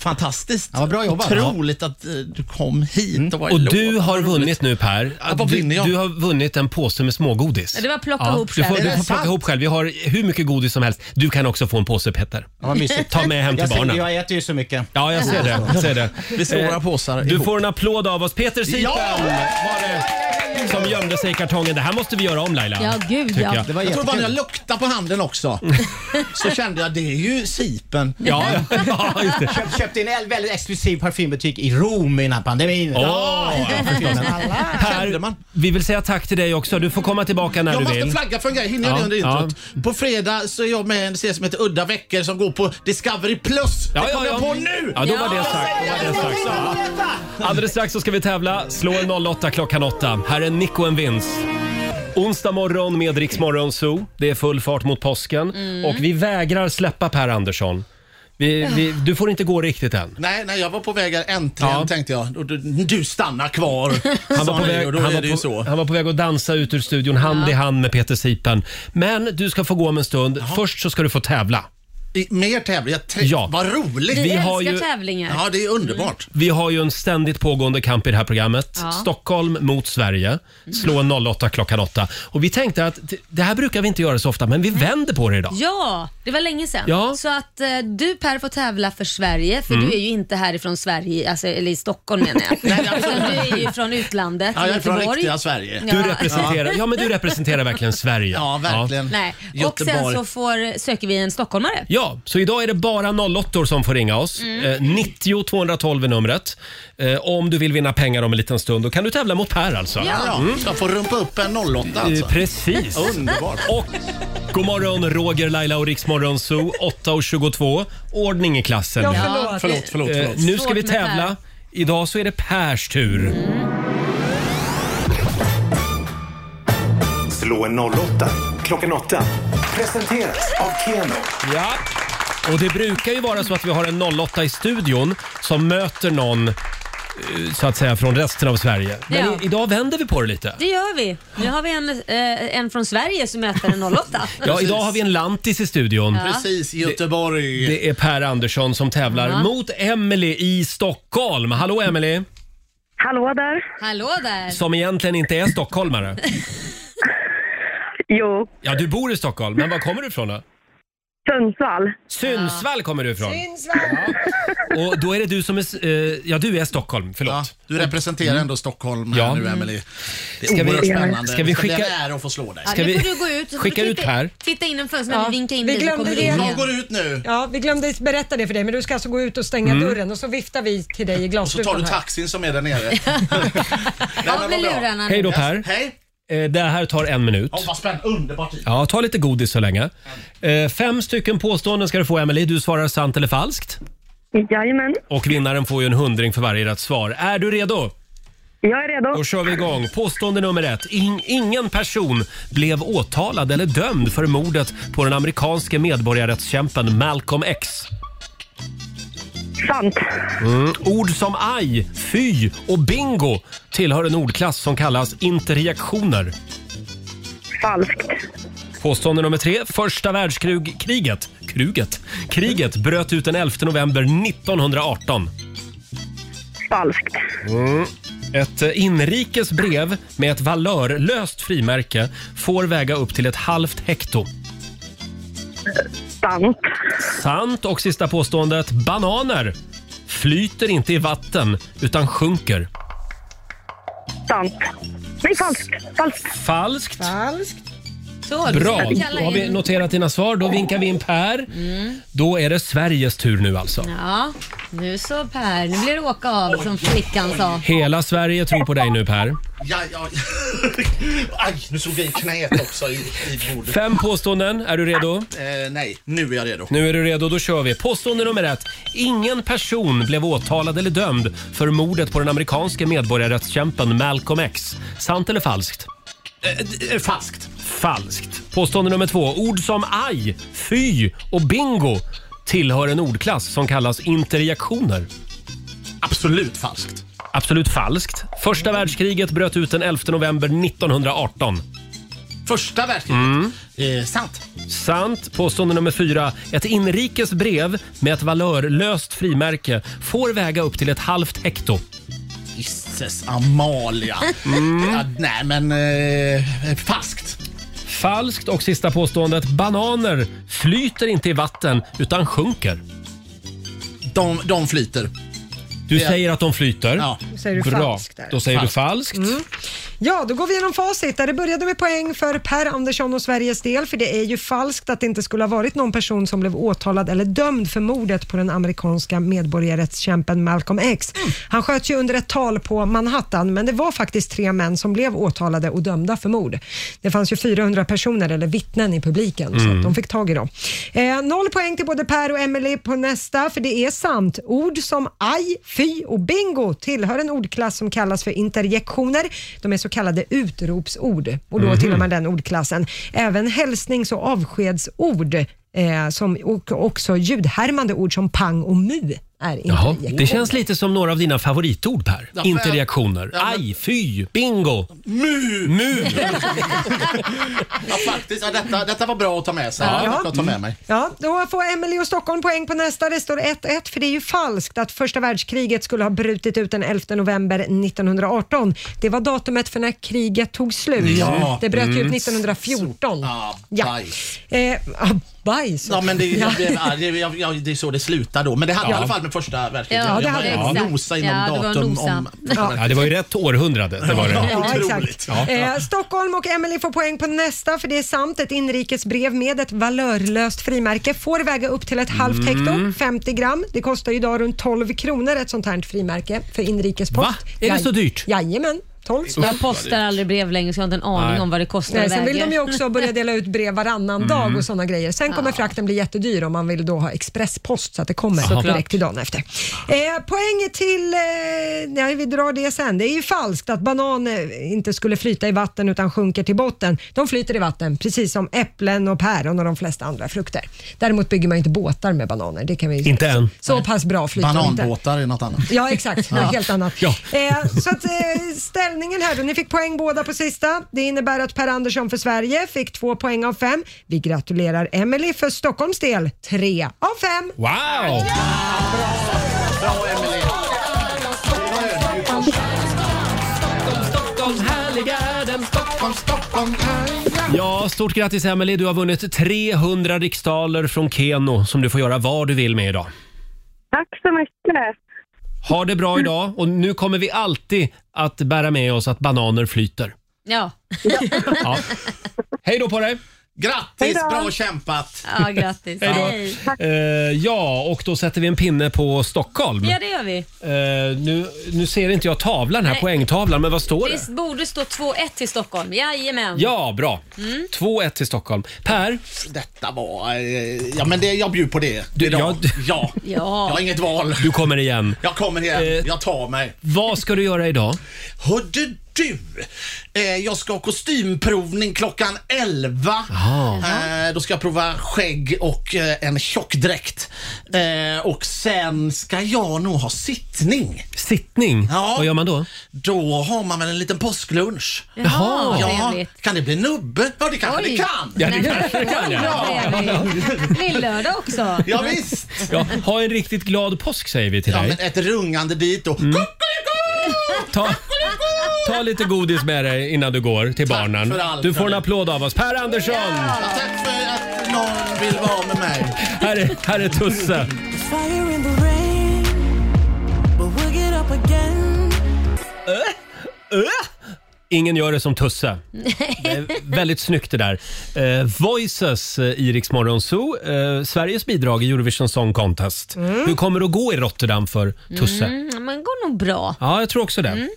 I: skitfantastiskt.
M: Ja, vad bra jobbat.
I: Otroligt att eh, du kom hit. Och, var i
A: Mm. Och
I: Lå-
A: du har vunnit nu Per.
I: vad
A: Du,
I: vinner jag?
A: du har vunnit en påse med smågodis.
E: Ja, det var plocka ihop
A: Du får,
E: själv.
A: du
E: Är det
A: får plocka
I: sant?
A: ihop själv. Vi har hur mycket godis som helst. Du kan också få en påse Peter.
M: Ja, vad mysigt.
A: Ta med hem till
M: jag, säger-
A: barnen.
M: jag äter ju så mycket.
A: Ja, jag ser det. Jag ser det.
I: Vi slår
A: Eh,
I: våra påsar
A: Du
I: ihop.
A: får en applåd av oss. Peter Sipen
I: Ja!
A: var det som gömde sig i kartongen. Det här måste vi göra om Laila.
E: Ja, gud,
A: tycker
E: ja.
A: jag.
M: Det var
I: Jag tror bara när jag
M: jättekul.
I: luktade på handen också så kände jag det är ju sipen.
A: Mm. Ja, ja, just det.
M: Köp, köpte en väldigt exklusiv parfymbutik i Rom innan pandemin.
A: Åh, ja, förstås.
I: Kände
A: Per,
I: man.
A: vi vill säga tack till dig också. Du får komma tillbaka när
I: Jag
A: du
I: måste
A: vill.
I: flagga för en grej, hinner jag
A: Ja,
I: det under introt? På fredag så är jag med i en serie som heter Udda veckor som går på Discovery Plus.
A: Ja,
I: det
A: ja,
I: kommer
A: ja.
I: jag på nu!
A: Ja, då var
E: Ja,
A: det sagt. Då var det sagt. Alldeles strax så ska vi tävla. Slå en 08 klockan 8. Här är Nico en Vins. Onsdag morgon med Rix Morgon Zoo. Det är full fart mot påsken och vi vägrar släppa Per Andersson. Vi, vi, du får inte gå riktigt än.
I: Nej, nej, jag var på väg här äntligen
A: Ja.
I: tänkte jag. Du, du, du stannar kvar.
A: Han var, på väg,
I: och då
A: han,
I: är
A: var
I: det ju
A: på,
I: så.
A: han var på väg att dansa ut ur studion hand i hand med Peter Sipen. Men du ska få gå om en stund. Först så ska du få tävla.
I: I, mer tävling. Jag trä-
A: Ja.
I: Vad roligt!
E: Vi,
A: Vi
E: älskar
A: har ju-
E: tävlingar. Mm.
I: Ja, det är underbart.
A: Vi har ju en ständigt pågående kamp i det här programmet.
E: Ja.
A: Stockholm mot Sverige. Slå en 08 klockan 8. Och vi tänkte att det- det här brukar vi inte göra så ofta, men vi vänder på det idag.
E: Ja, det var länge sedan.
A: Ja.
E: Så att eh, du Per får tävla för Sverige, för du är ju inte härifrån Sverige, alltså, eller i Stockholm menar jag. Utan du är ju från utlandet,
I: Ja, jag är från
E: Göteborg.
I: riktiga Sverige.
A: Du
E: Ja.
A: representerar, ja, men du representerar verkligen Sverige.
I: Ja, verkligen.
E: Nej. Och sen
I: Göteborg.
E: så får, söker vi en stockholmare.
A: Ja, så idag är det bara 08 som får ringa oss.
E: Mm.
A: Eh, 90 212 är numret. Eh, om du vill vinna pengar om en liten stund, då kan du tävla mot Per alltså.
I: Ja, ja. Jag får rumpa upp en 08
A: Eh,
I: alltså.
A: Precis.
I: Underbart.
A: Och god morgon Roger, Laila och Riksmorgon Zoo 8.22. Ordning i klassen.
B: Ja,
A: nu.
B: förlåt.
I: Förlåt, förlåt,
A: Eh,
I: förlåt.
A: nu ska
E: Svårt
A: vi
E: med
A: tävla.
E: Per.
A: Idag så är det Pers tur.
N: Eh, Slå en 08 klockan 8. Presenteras av Keno.
A: Ja. Och det brukar ju vara så att vi har en 08 i studion som möter någon eh, så att säga från resten av Sverige. Men
E: Ja.
A: i, idag vänder vi på det lite.
E: Det gör vi. Nu har vi en, eh, en från Sverige som möter en 08.
A: Ja, idag har vi en lantis i studion.
I: Precis, Göteborg.
A: Det är Per Andersson som tävlar
E: Ja.
A: mot Emily i Stockholm. Hallå Emily,
G: Hallå där.
E: Hallå där.
A: som egentligen inte är stockholmare.
G: Jo,
A: Ja, du bor i Stockholm, men var kommer du ifrån då?
G: Sundsvall.
A: Sundsvall kommer du ifrån.
B: Sundsvall!
A: Och då är det du som är... s- eh, Ja, du är Stockholm. Förlåt.
I: du representerar ändå Stockholm här nu, Emily. Det är oerhört spännande.
A: Ska Mm. vi
I: Det ska bli
A: skicka...
I: en ära att få slå dig.
E: Ja,
A: Ska
E: nu
A: vi
E: får du gå ut. så får
A: skicka
E: du
A: ut
E: titta-
A: här?
E: Titta in den först när vi vinkar in
B: vi
E: dig så kommer
B: glömde
E: du in. igen.
I: ut nu.
B: Ja, vi glömde berätta det för dig, men du ska alltså gå ut och stänga
I: Mm.
B: dörren och så viftar vi till dig i
I: Och så
B: glasrutan
I: tar du
B: här.
I: taxin som är där nere.
E: Av med lurarna.
A: Hej då Per.
I: Hej.
A: Eh, Det här tar en minut.
I: Oh, vad spännande. Underbart.
A: Ja, ta lite godis så länge. Eh, Fem stycken påståenden ska du få Emily. Du svarar sant eller falskt.
G: Jajamän,
A: Och vinnaren får ju en hundring för varje rätt svar. Är du redo?
G: jag är redo.
A: Då kör vi igång. Påstående nummer ett. In, ingen person blev åtalad eller dömd för mordet på den amerikanske medborgarrättskämpen Malcolm X.
G: Sant.
A: Mm. Ord som aj, fy och bingo tillhör en ordklass som kallas interreaktioner.
G: Falskt.
A: Påstående nummer tre. Första världskriget kruget, kriget bröt ut den 11 november 1918.
G: Falskt.
A: Mm. Ett eh, inrikes brev med ett valörlöst frimärke får väga upp till ett halvt hekto.
G: Sant.
A: Sant. Och sista påståendet. Bananer flyter inte i vatten utan sjunker.
G: Sant. Nej, falskt. Falskt.
A: Falskt.
B: Falskt.
E: Så, du
A: Bra,
E: ska kalla
A: då har vi
E: in-
A: noterat dina svar. Då vinkar vi in Per.
E: Mm.
A: Då är det Sveriges tur nu alltså.
E: Ja, nu så Per. Nu blir det åka av som flickan sa.
A: Hela Sverige tror på dig nu Per.
I: Ja, ja. Aj, nu slog jag i knät också i, i bordet.
A: Fem påståenden. Är du redo?
I: Eh, nej, nu är jag redo.
A: Nu är du redo, då kör vi. Påstående nummer ett. Ingen person blev åtalad eller dömd för mordet på den amerikanske medborgarrättskämpen Malcolm X. Sant eller falskt?
I: falskt.
A: Falskt. Påstående nummer två. Ord som aj, fy och bingo tillhör en ordklass som kallas interreaktioner.
I: Absolut falskt.
A: Absolut falskt. Första världskriget bröt ut den 11 november 1918.
I: Första världskriget?
A: Mm.
I: Eh, sant.
A: Sant. Påstående nummer fyra. Ett inrikes brev med ett valörlöst frimärke får väga upp till ett halvt hekto.
I: Gisses Amalia.
A: Mm.
I: Ja, nej, men eh, falskt.
A: Falskt. Och sista påståendet. Bananer flyter inte i vatten utan sjunker.
I: De, de flyter.
A: Du
I: Det-
A: säger att de flyter.
B: Då säger du
A: Bra.
B: falskt där.
A: Då säger
B: Falskt.
A: du falskt.
B: Mm. Ja, då går vi igenom facit. Där det började med poäng för Per Andersson och Sveriges del, för det är ju falskt att det inte skulle ha varit någon person som blev åtalad eller dömd för mordet på den amerikanska medborgarrättskämpen Malcolm X. Han sköts ju under ett tal på Manhattan, men det var faktiskt tre män som blev åtalade och dömda för mord. Det fanns ju 400 personer, eller vittnen, i publiken, så
O: Mm.
B: att de fick tag i dem. Eh, noll poäng till både Per och Emily på nästa, för det är sant. Ord som aj, fy och bingo tillhör en ordklass som kallas för interjektioner. De är så kallade utropsord och då
O: Mhm.
B: tillhör man den ordklassen. Även hälsnings och avskedsord eh, som, och också ljudhärmande ord som pang och mu är
A: Jaha.
B: interjektioner.
A: Det känns lite som några av dina favoritord Per.
B: Ja, för-
A: Interreaktioner.
B: Ja,
A: Aj, fy, bingo.
I: Mu!
A: Mu!
I: ja, faktiskt. Ja, detta, detta var bra att ta med sig.
B: Ja.
I: Ja. Jag ska ta med mig.
B: Ja, då får Emily och Stockholm poäng på nästa. Det står 1-1 för det är ju falskt att första världskriget skulle ha brutit ut den 11 november 1918. Det var datumet för när kriget tog slut.
I: Ja.
B: Det bröt ju
I: Mm. Ah,
B: ut 1914. Ja,
I: Bajs.
B: Eh, ah, bajs.
I: Ja, men det,
B: Ja.
I: jag blev arg. Jag- jag- det är så det slutar då. Men det hade
B: Ja.
I: i alla fall med första världskriget
B: Ja, det
I: Jag
B: hade
I: var-
B: det.
I: jag
B: Exakt.
I: nosa inom
B: Ja, det var
I: datum
B: nosa.
I: om...
B: Ja.
A: Ja, det var ju rätt århundrade. Det var det.
B: Ja,
I: Otroligt.
B: exakt. Eh, Stockholm och Emily får poäng på nästa för det är sant. Ett inrikesbrev med ett valörlöst frimärke får väga upp till ett halvt hekto, 50 gram. Det kostar ju idag runt 12 kronor ett sånt här frimärke för inrikespost.
E: Va? Är det
B: Jaj-
E: så
A: dyrt?
B: Jajamän. 12 spänn.
E: Jag postar aldrig brev längre så jag har inte en aning
B: Nej.
E: om vad det kostar
B: Nej,
E: och
B: sen vill
E: väger.
B: de ju också börja dela ut brev varannan
I: Mm.
B: dag och sådana grejer. Sen
E: Ja.
B: kommer frakten bli jättedyr om man vill då ha expresspost så att det kommer
E: Såklart.
B: direkt till dagen efter. Eh, poäng till, eh, nej vi drar det sen. Det är ju falskt att bananer inte skulle flyta i vatten utan sjunker till botten. De flyter i vatten precis som äpplen och päron och de flesta andra frukter. Däremot bygger man ju inte båtar med bananer. Det kan vi ju
I: Inte än.
B: Så pass bra flyter de inte.
I: Bananbåtar är något annat.
B: Ja, exakt. Något
I: Ja.
B: helt annat.
I: Ja.
B: Eh, så att, eh, ställningen här då. Ni fick poäng båda på sista. Det innebär att Per Andersson för Sverige fick två poäng av fem. Vi gratulerar Emily för Stockholms del, tre av fem.
A: Wow!
I: Stockholm härliga den, Stockholm, Stockholm härliga
A: Ja, stort grattis Emelie. Du har vunnit 300 riksdaler från Keno som du får göra vad du vill med idag.
G: Tack så mycket.
A: Ha det bra idag och nu kommer vi alltid att bära med oss att bananer flyter.
E: Ja.
A: Ja. Hej då på dig!
I: Grattis, bra kämpat!
E: Ja, grattis.
A: Hej då. Eh, ja, och då sätter vi en pinne på Stockholm.
E: Ja, det gör vi.
A: Eh, nu, nu ser inte jag tavlan här,
E: Nej.
A: poängtavlan, men vad står det?
E: Visst borde stå 2-1 till Stockholm? Jajamän.
A: Ja, bra.
E: Mm.
A: 2-1 till Stockholm. Per?
I: Detta var... eh, Ja, men det, jag bjuder på det.
A: Du, jag,
I: ja.
E: Ja.
I: Jag har inget val.
A: Du kommer igen.
I: Jag kommer igen. Jag tar mig.
A: Vad ska du göra idag?
I: Hörde du? Eh, jag ska ha kostymprovning klockan 11. Eh, då ska jag prova skägg och eh, en tjockdräkt. Eh, och sen ska jag nog ha sittning.
A: Sittning?
I: Ja. Vad
A: gör man då?
I: Då har man väl en liten påsklunch.
E: Jaha, vad
I: ja.
E: trevligt.
I: Kan det bli nubbe? Ja, det kanske det kan.
A: Ja, det kanske det kan, ja.
E: Lill-lördag också.
I: Ja, visst.
A: Ja, ha en riktigt glad påsk säger vi till
I: Ja,
A: dig.
I: men ett rungande dit och mm.
A: Ta, ta lite godis med dig innan du går till barnen.
I: för allt,
A: Du får en
I: hörni.
A: applåd av oss. Per Andersson!
I: Tack för att någon vill vara med mig.
A: Här är, här är Tusse.
O: Fire in the rain, but we'll get up again.
A: Ingen gör det som Tusse. Väldigt snyggt det där. Eh, Voices eh, i Rix Morgon Zoo. Eh, Sveriges bidrag i Eurovision Song Contest.
E: Mm.
A: Hur kommer det att gå i Rotterdam för Tusse?
E: Mm, men går nog bra.
A: Ja, jag tror också det.
O: Mm.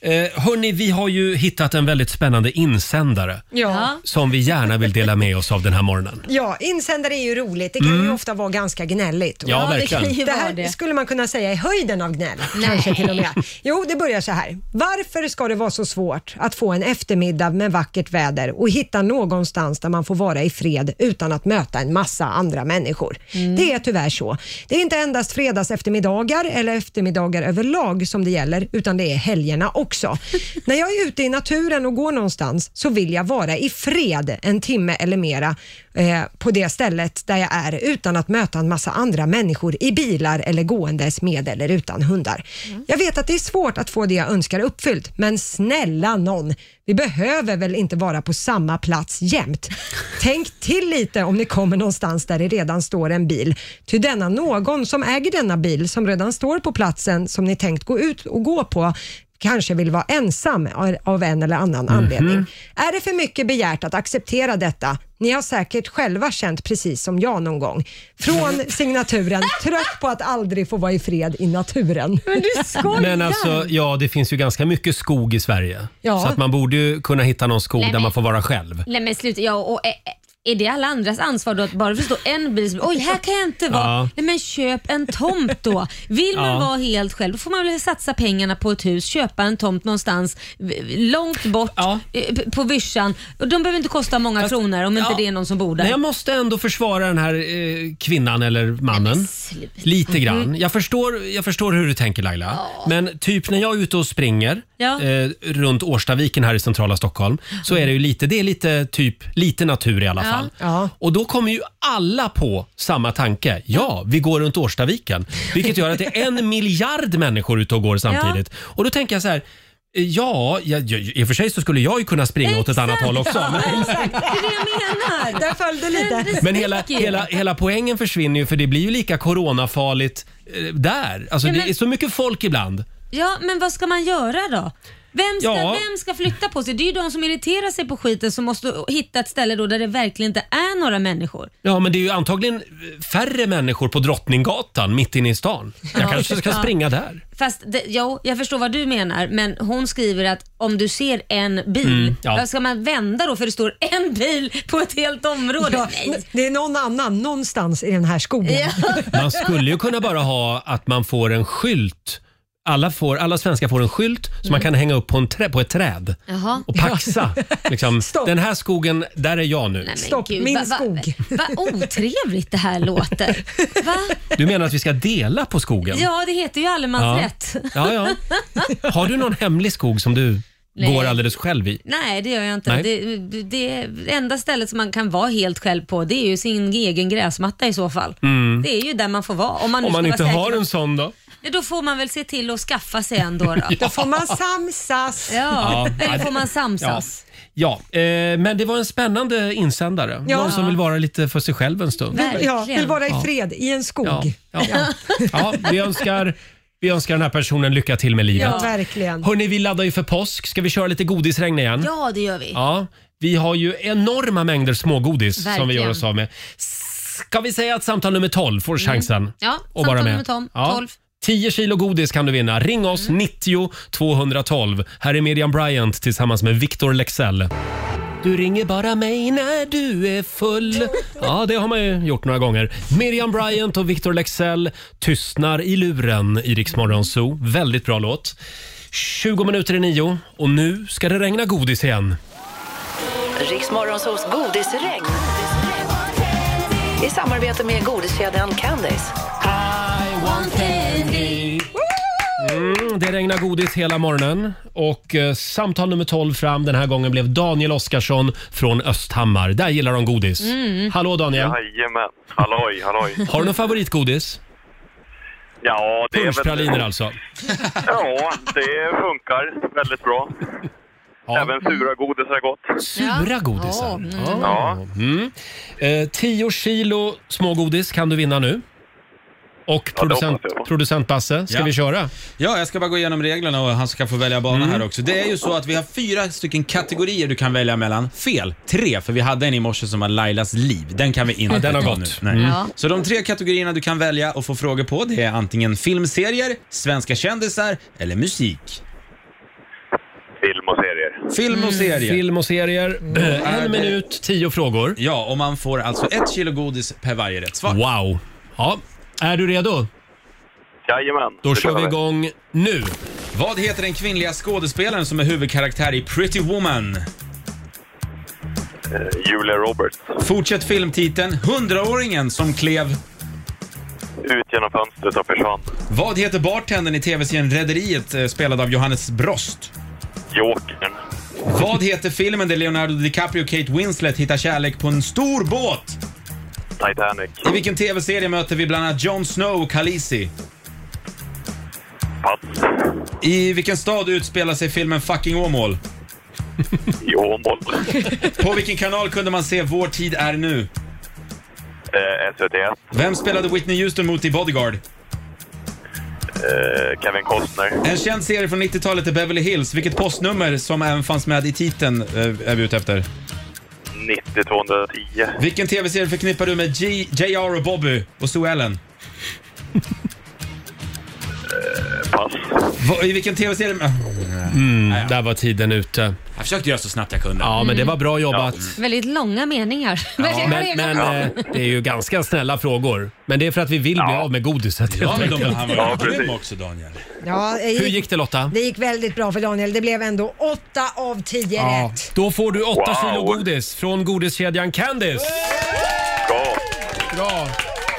A: Eh, hörni, vi har ju hittat en väldigt spännande insändare
B: Ja.
A: som vi gärna vill dela med oss av den här morgonen.
B: Ja, insändare är ju roligt. Det kan
A: Mm.
B: ju ofta vara ganska gnälligt.
A: Ja, Ja, det verkligen. kan ju
B: Det
A: vara
B: här
A: det.
B: skulle man kunna säga är höjden av gnäll. Kanske till och med. Jo, det börjar så här. Varför ska det vara så svårt att få en eftermiddag med vackert väder och hitta någonstans där man får vara i fred utan att möta en massa andra människor? Det är tyvärr så. Det är inte endast fredags eftermiddagar eller eftermiddagar överlag som det gäller, utan det är helgerna också. När jag är ute i naturen och går någonstans så vill jag vara i fred en timme eller mera eh, på det stället där jag är utan att möta en massa andra människor i bilar eller gåendes med eller utan hundar. Jag vet att det är svårt att få det jag önskar uppfyllt, men snälla någon, vi behöver väl inte vara på samma plats jämt? Tänk till lite om ni kommer någonstans där det redan står en bil, ty denna någon som äger denna bil som redan står på platsen som ni tänkt gå ut och gå på kanske vill vara ensam av en eller annan anledning. Är det för mycket begärt att acceptera detta? Ni har säkert själva känt precis som jag någon gång. Från signaturen, trött på att aldrig få vara i fred i naturen. Men
E: du
A: Men alltså, ja, det finns ju ganska mycket skog i Sverige.
E: Ja.
A: Så att man borde ju kunna hitta någon skog
E: Nej,
A: där
E: men-
A: man får vara själv.
E: Nej men sluta, ja, och, är, är det alla andras ansvar då att bara förstå en bil som, oj här kan jag inte vara.
A: Ja.
E: Nej men köp en tomt då. Vill man
A: Ja.
E: vara helt själv då får man väl satsa pengarna på ett hus, köpa en tomt någonstans v- långt bort eh, p- på vischan. Och De behöver inte kosta många kronor om inte det är någon som bor där.
A: Nej, jag måste ändå försvara den här eh, kvinnan eller mannen. Lite grann.
E: Mm-hmm.
A: Jag, förstår, jag förstår hur du tänker Laila. Men typ när jag är ute och springer
E: Ja.
A: eh, runt Årstaviken här i centrala Stockholm så är det ju lite, det är lite, typ, lite natur i alla
E: Ja.
A: fall. Och då kommer ju alla på samma tanke. Ja, vi går runt Årstaviken. Vilket gör att det är en miljard människor ute och går samtidigt. Och då tänker jag så här. eh, Ja, jag, jag, i och för sig så skulle jag ju kunna springa åt ett annat håll också. men-
E: Exakt, det är det jag menar.
B: Där följde lite.
A: men hela, hela, hela poängen försvinner ju för det blir ju lika coronafarligt eh, där. Alltså
E: Ja, men-
A: det är så mycket folk ibland.
E: Ja, men vad ska man göra då? Vem ska,
A: Ja.
E: vem ska flytta på sig? Det är ju de som irriterar sig på skiten som måste hitta ett ställe då där det verkligen inte är några människor.
A: Ja, men det är ju antagligen eh, färre människor på Drottninggatan mitt inne i stan. Jag
E: Ja.
A: kanske ska
E: Ja.
A: springa där.
E: Fast det, jo, jag förstår vad du menar, men hon skriver att om du ser en bil,
A: Mm, ja.
E: vad ska man vända då för det står en bil på ett helt område?
B: Ja,
E: Nej.
B: det är någon annan någonstans i den här skogen.
A: Man skulle ju kunna bara ha att man får en skylt. Alla, får, alla svenskar får en skylt som man kan hänga upp på, en trä, på ett träd
E: Mm. Jaha.
A: och paxa. Liksom, den här skogen, där är jag nu.
E: Nej, men gud, vad- Vad va, otrevligt det här låter.
A: Du menar att vi ska dela på skogen?
E: Ja, det heter ju allemansrätt.
A: Ja, ja. Har du någon hemlig skog som du
E: Nej.
A: går alldeles själv i?
E: Nej, det gör jag inte.
A: Nej.
E: Det, det enda stället som man kan vara helt själv på det är ju sin egen gräsmatta i så fall.
A: Mm.
E: Det är ju där man får vara. Om man, nu
A: Om man
E: ska
A: inte
E: vara säker
A: har
E: på-
A: en sån då?
E: Ja, Då får man väl se till att skaffa sig en då. Då,
A: Ja. Då får man
B: samsas.
E: Ja,
A: Ja.
E: eller får man samsas.
A: Ja. Ja, eh, men det var en spännande insändare.
B: Ja.
A: Någon som vill vara lite för sig själv en stund.
B: Vill, ja, vill vara i
A: Ja.
B: fred i en skog.
A: Ja, ja. Ja, vi, önskar, vi önskar den här personen lycka till med livet.
E: Ja, verkligen.
A: Hörni, vi laddar ju för påsk. Ska vi köra lite godisregn igen?
E: Ja, det gör vi.
A: Ja, vi har ju enorma mängder smågodis som vi
E: Verkligen.
A: gör oss av med. Ska vi säga att samtal nummer 12 får chansen?
E: Mm. Ja,
A: att
E: samtal nummer Mm. 12.
A: Ja.
E: 12.
A: 10 kilo godis kan du vinna. Ring oss 90 212. Här är Miriam Bryant tillsammans med Victor Lexell. Du ringer bara mig när du är full. Ja, det har man ju gjort några gånger. Miriam Bryant och Victor Lexell tystnar i luren i Rix Morgon Zoo. Väldigt bra låt. 20 minuter i nio och nu ska det regna godis igen.
F: Riksmorgonsos godisregn. I samarbete med godiskedjan Candice. I want candy.
A: Mm, det regnar godis hela morgonen och eh, samtal nummer 12 fram den här gången blev Daniel Oskarsson från Östhammar. Där gillar de godis.
P: Mm.
A: Hallå Daniel!
P: Jajamän. Halloj, halloj.
A: Har du någon favoritgodis?
P: Ja, det är väl...
A: Punschpraliner alltså.
P: Ja, det funkar väldigt bra. Även sura godis är gott.
A: Sura godisar.
P: Mm.
A: Ja. Mm. Eh, 10 kilo smågodis kan du vinna nu. Och producent, producent Basse, ska
C: Ja.
A: vi köra?
C: Ja, jag ska bara gå igenom reglerna och han ska få välja
A: Mm.
C: bana här också. Det är ju så att vi har fyra stycken kategorier du kan välja mellan. Fel, tre, för vi hade en i morse som var Lailas liv. Den kan vi inte
A: Ja, den har
C: ta
A: gått.
C: nu. Nej.
A: Mm. Ja.
C: Så de tre kategorierna du kan välja och få frågor på det är antingen filmserier, svenska kändisar eller musik.
P: Film och serier. Mm.
C: Film och serier.
A: Mm. Film och serier. Eh, En minut, tio frågor.
C: Ja, och man får alltså ett kilo godis per varje rätt svar.
A: Wow! Ja. Är du redo?
P: Jajamän.
A: Då kör vi igång nu.
C: Vad heter den kvinnliga skådespelaren som är huvudkaraktär i Pretty Woman?
P: Julia Roberts.
C: Fortsätt filmtiteln Hundraåringen som klev...
P: Ut genom fönstret och försvann.
C: Vad heter bartendern i tv-serien Rederiet eh, spelad av Johannes Brost?
P: Jokern.
C: Vad heter filmen där Leonardo DiCaprio och Kate Winslet hittar kärlek på en stor båt?
P: Titanic.
C: I vilken tv-serie möter vi bland annat Jon Snow och Khaleesi?
P: Pass.
C: I vilken stad utspelar sig filmen Fucking Åmål?
P: I Åmål.
C: På vilken kanal kunde man se Vår tid är nu?
P: Eh, SVT.
C: Vem spelade Whitney Houston mot i Bodyguard?
P: Eh, Kevin Costner.
C: En känd serie från 90-talet är Beverly Hills. Vilket postnummer som även fanns med i titeln eh, är vi ute efter?
P: 90-210.
C: Vilken tv-serie förknippar du med G- J.R. och Bobby och Sue Ellen?
P: Pass.
C: Va, I vilken tv-serie...
A: Mm, där var tiden ute.
C: Jag försökte göra så snabbt jag kunde.
A: Ja, men det var bra jobbat.
E: Väldigt långa meningar.
A: Ja, men men
E: Ja.
A: eh, det är ju ganska snälla frågor. Men det är för att vi vill bli av med godiset
C: Ja,
A: helt
C: men de-
A: enkelt.
C: han var ju Ja, grym precis. också, Daniel.
B: Ja, det
A: Hur gick det Lotta?
B: Det gick väldigt bra för Daniel. Det blev ändå 8 av 10
A: Ja,
B: rätt.
A: då får du 8
B: Wow.
A: kilo godis från godiskedjan Candice.
P: Bra.
A: Bra.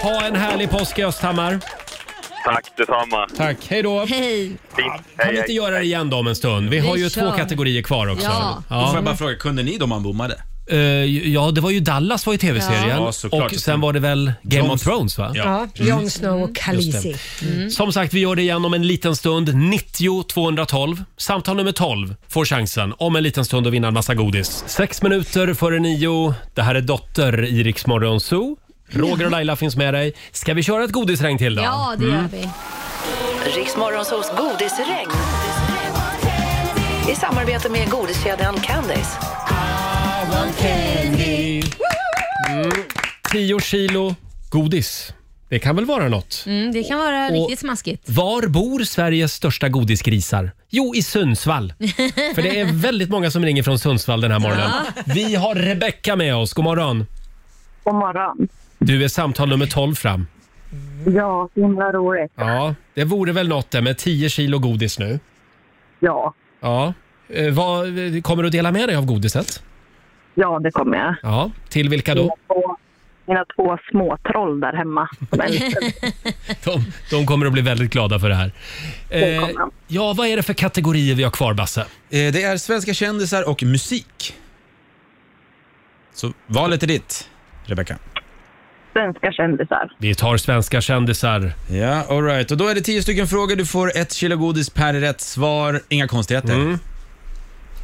A: Ha en härlig påsk i Östhammar.
P: Tack detsamma.
A: Tack. Hej då.
E: Hej.
P: Fint.
A: Kan vi inte göra det igen då om en stund? Vi har
C: Vi
A: ju två
C: kör.
A: kategorier kvar också.
C: Ja. Då får jag bara fråga, kunde ni då man bommade?
A: Eh, ja, det var ju Dallas var ju tv-serien
C: Ja,
A: och
C: såklart.
A: sen var det väl Game
C: Jon-
A: of Thrones va?
B: Ja, Jon Snow och Khaleesi.
A: Mm. Just
B: Mm.
A: Som sagt, vi gör det igen om en liten stund. 90 212. Samtal nummer 12 får chansen om en liten stund att vinna en massa godis. Sex minuter före nio. Det här är Dotter i Rix Morgon Zoo. Roger och Laila finns med dig. Ska vi köra ett godisregn till då?
F: Ja, det
A: Mm.
F: gör vi. Riksmorgonsos godisregn. I samarbete med godiskedjan Candice. I want candy.
A: Mm. 10 kilo godis. Det kan väl vara något?
E: Mm, det kan vara
A: Och-
E: riktigt smaskigt.
A: Var bor Sveriges största godisgrisar? Jo, i Sundsvall. För det är väldigt många som ringer från Sundsvall den här morgonen. Vi har Rebecka med oss. God morgon.
Q: God morgon.
A: Du är samtal nummer 12 fram.
Q: Ja, så himla roligt.
A: Ja, det vore väl något det med 10 kilo godis nu.
Q: Ja.
A: Ja. Eh, vad, kommer du dela med dig av godiset?
Q: Ja, det kommer jag.
A: Ja, till vilka då?
Q: Och mina två små troll där hemma. Men,
A: De, de kommer att bli väldigt glada för det här. Eh, ja, vad är det för kategorier vi har kvar, Basse?
C: Eh, Det är svenska kändisar och musik. Så valet är ditt, Rebecca.
Q: svenska kändisar.
A: Vi tar svenska kändisar.
C: Ja, alright. Och då är det tio stycken frågor. Du får ett kilo
A: Mm.
C: godis per rätt svar. Inga konstigheter.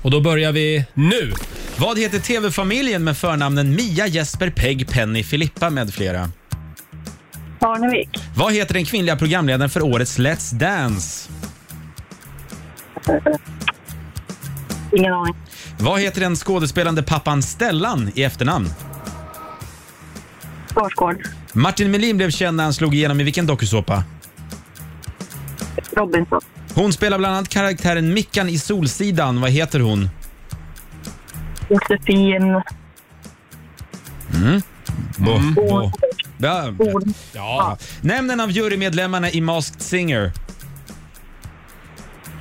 A: Och då börjar vi nu.
C: Vad heter TV-familjen med förnamnen Mia, Jesper, Peg, Penny, Filippa med flera?
Q: Parnevik.
C: Vad heter den kvinnliga programledaren för årets Let's Dance?
Q: Ingen aning.
C: Vad heter den skådespelande pappan Stellan i efternamn?
Q: Skarsgård.
C: Martin Melin blev känd när han slog igenom i vilken dokusåpa?
Q: Robinson.
C: Hon spelar bland annat karaktären Mickan i Solsidan. Vad heter hon?
Q: Josefin.
C: Mm. Bo, bo. Ja.
Q: Ord.
C: Ja. Nämn en av jurymedlemmarna i Masked Singer.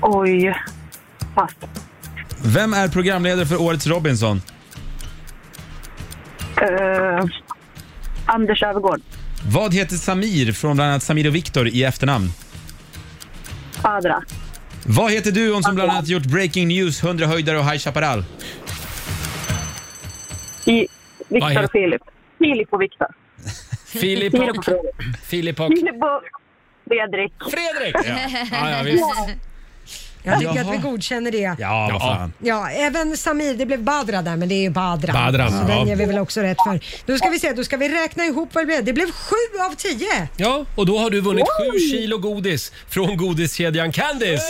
Q: Oj. Pass.
C: Vem är programledare för årets Robinson?
Q: Eh, Anders Öfvergård.
C: Vad heter Samir från bland annat Samir och Viktor i efternamn?
Q: Fadra.
C: Vad heter duon som bland annat gjort Breaking News, 100 höjdare och High Chaparral?
Q: I-
C: Vad
Q: Viktor
C: heter-
Q: och Filip. Filip och Viktor.
A: Filip
Q: Filip
A: och...
Q: och Fredrik.
A: Filip och...
Q: Filip och Fredrik.
A: Fredrik! Ja. Ja, ja, visst.
B: Jag tycker
A: Jaha.
B: att vi godkänner det.
A: Ja, vad fan.
B: Ja, även Samir, det blev Badra där, men det är ju Badran.
A: Badran,
B: så
A: ja.
B: den ger vi väl också rätt för. Då ska vi se, då ska vi räkna ihop vad det blev. Det blev sju av tio.
A: Ja, och då har du vunnit sju
B: Oj!
A: kilo godis från godiskedjan Candice.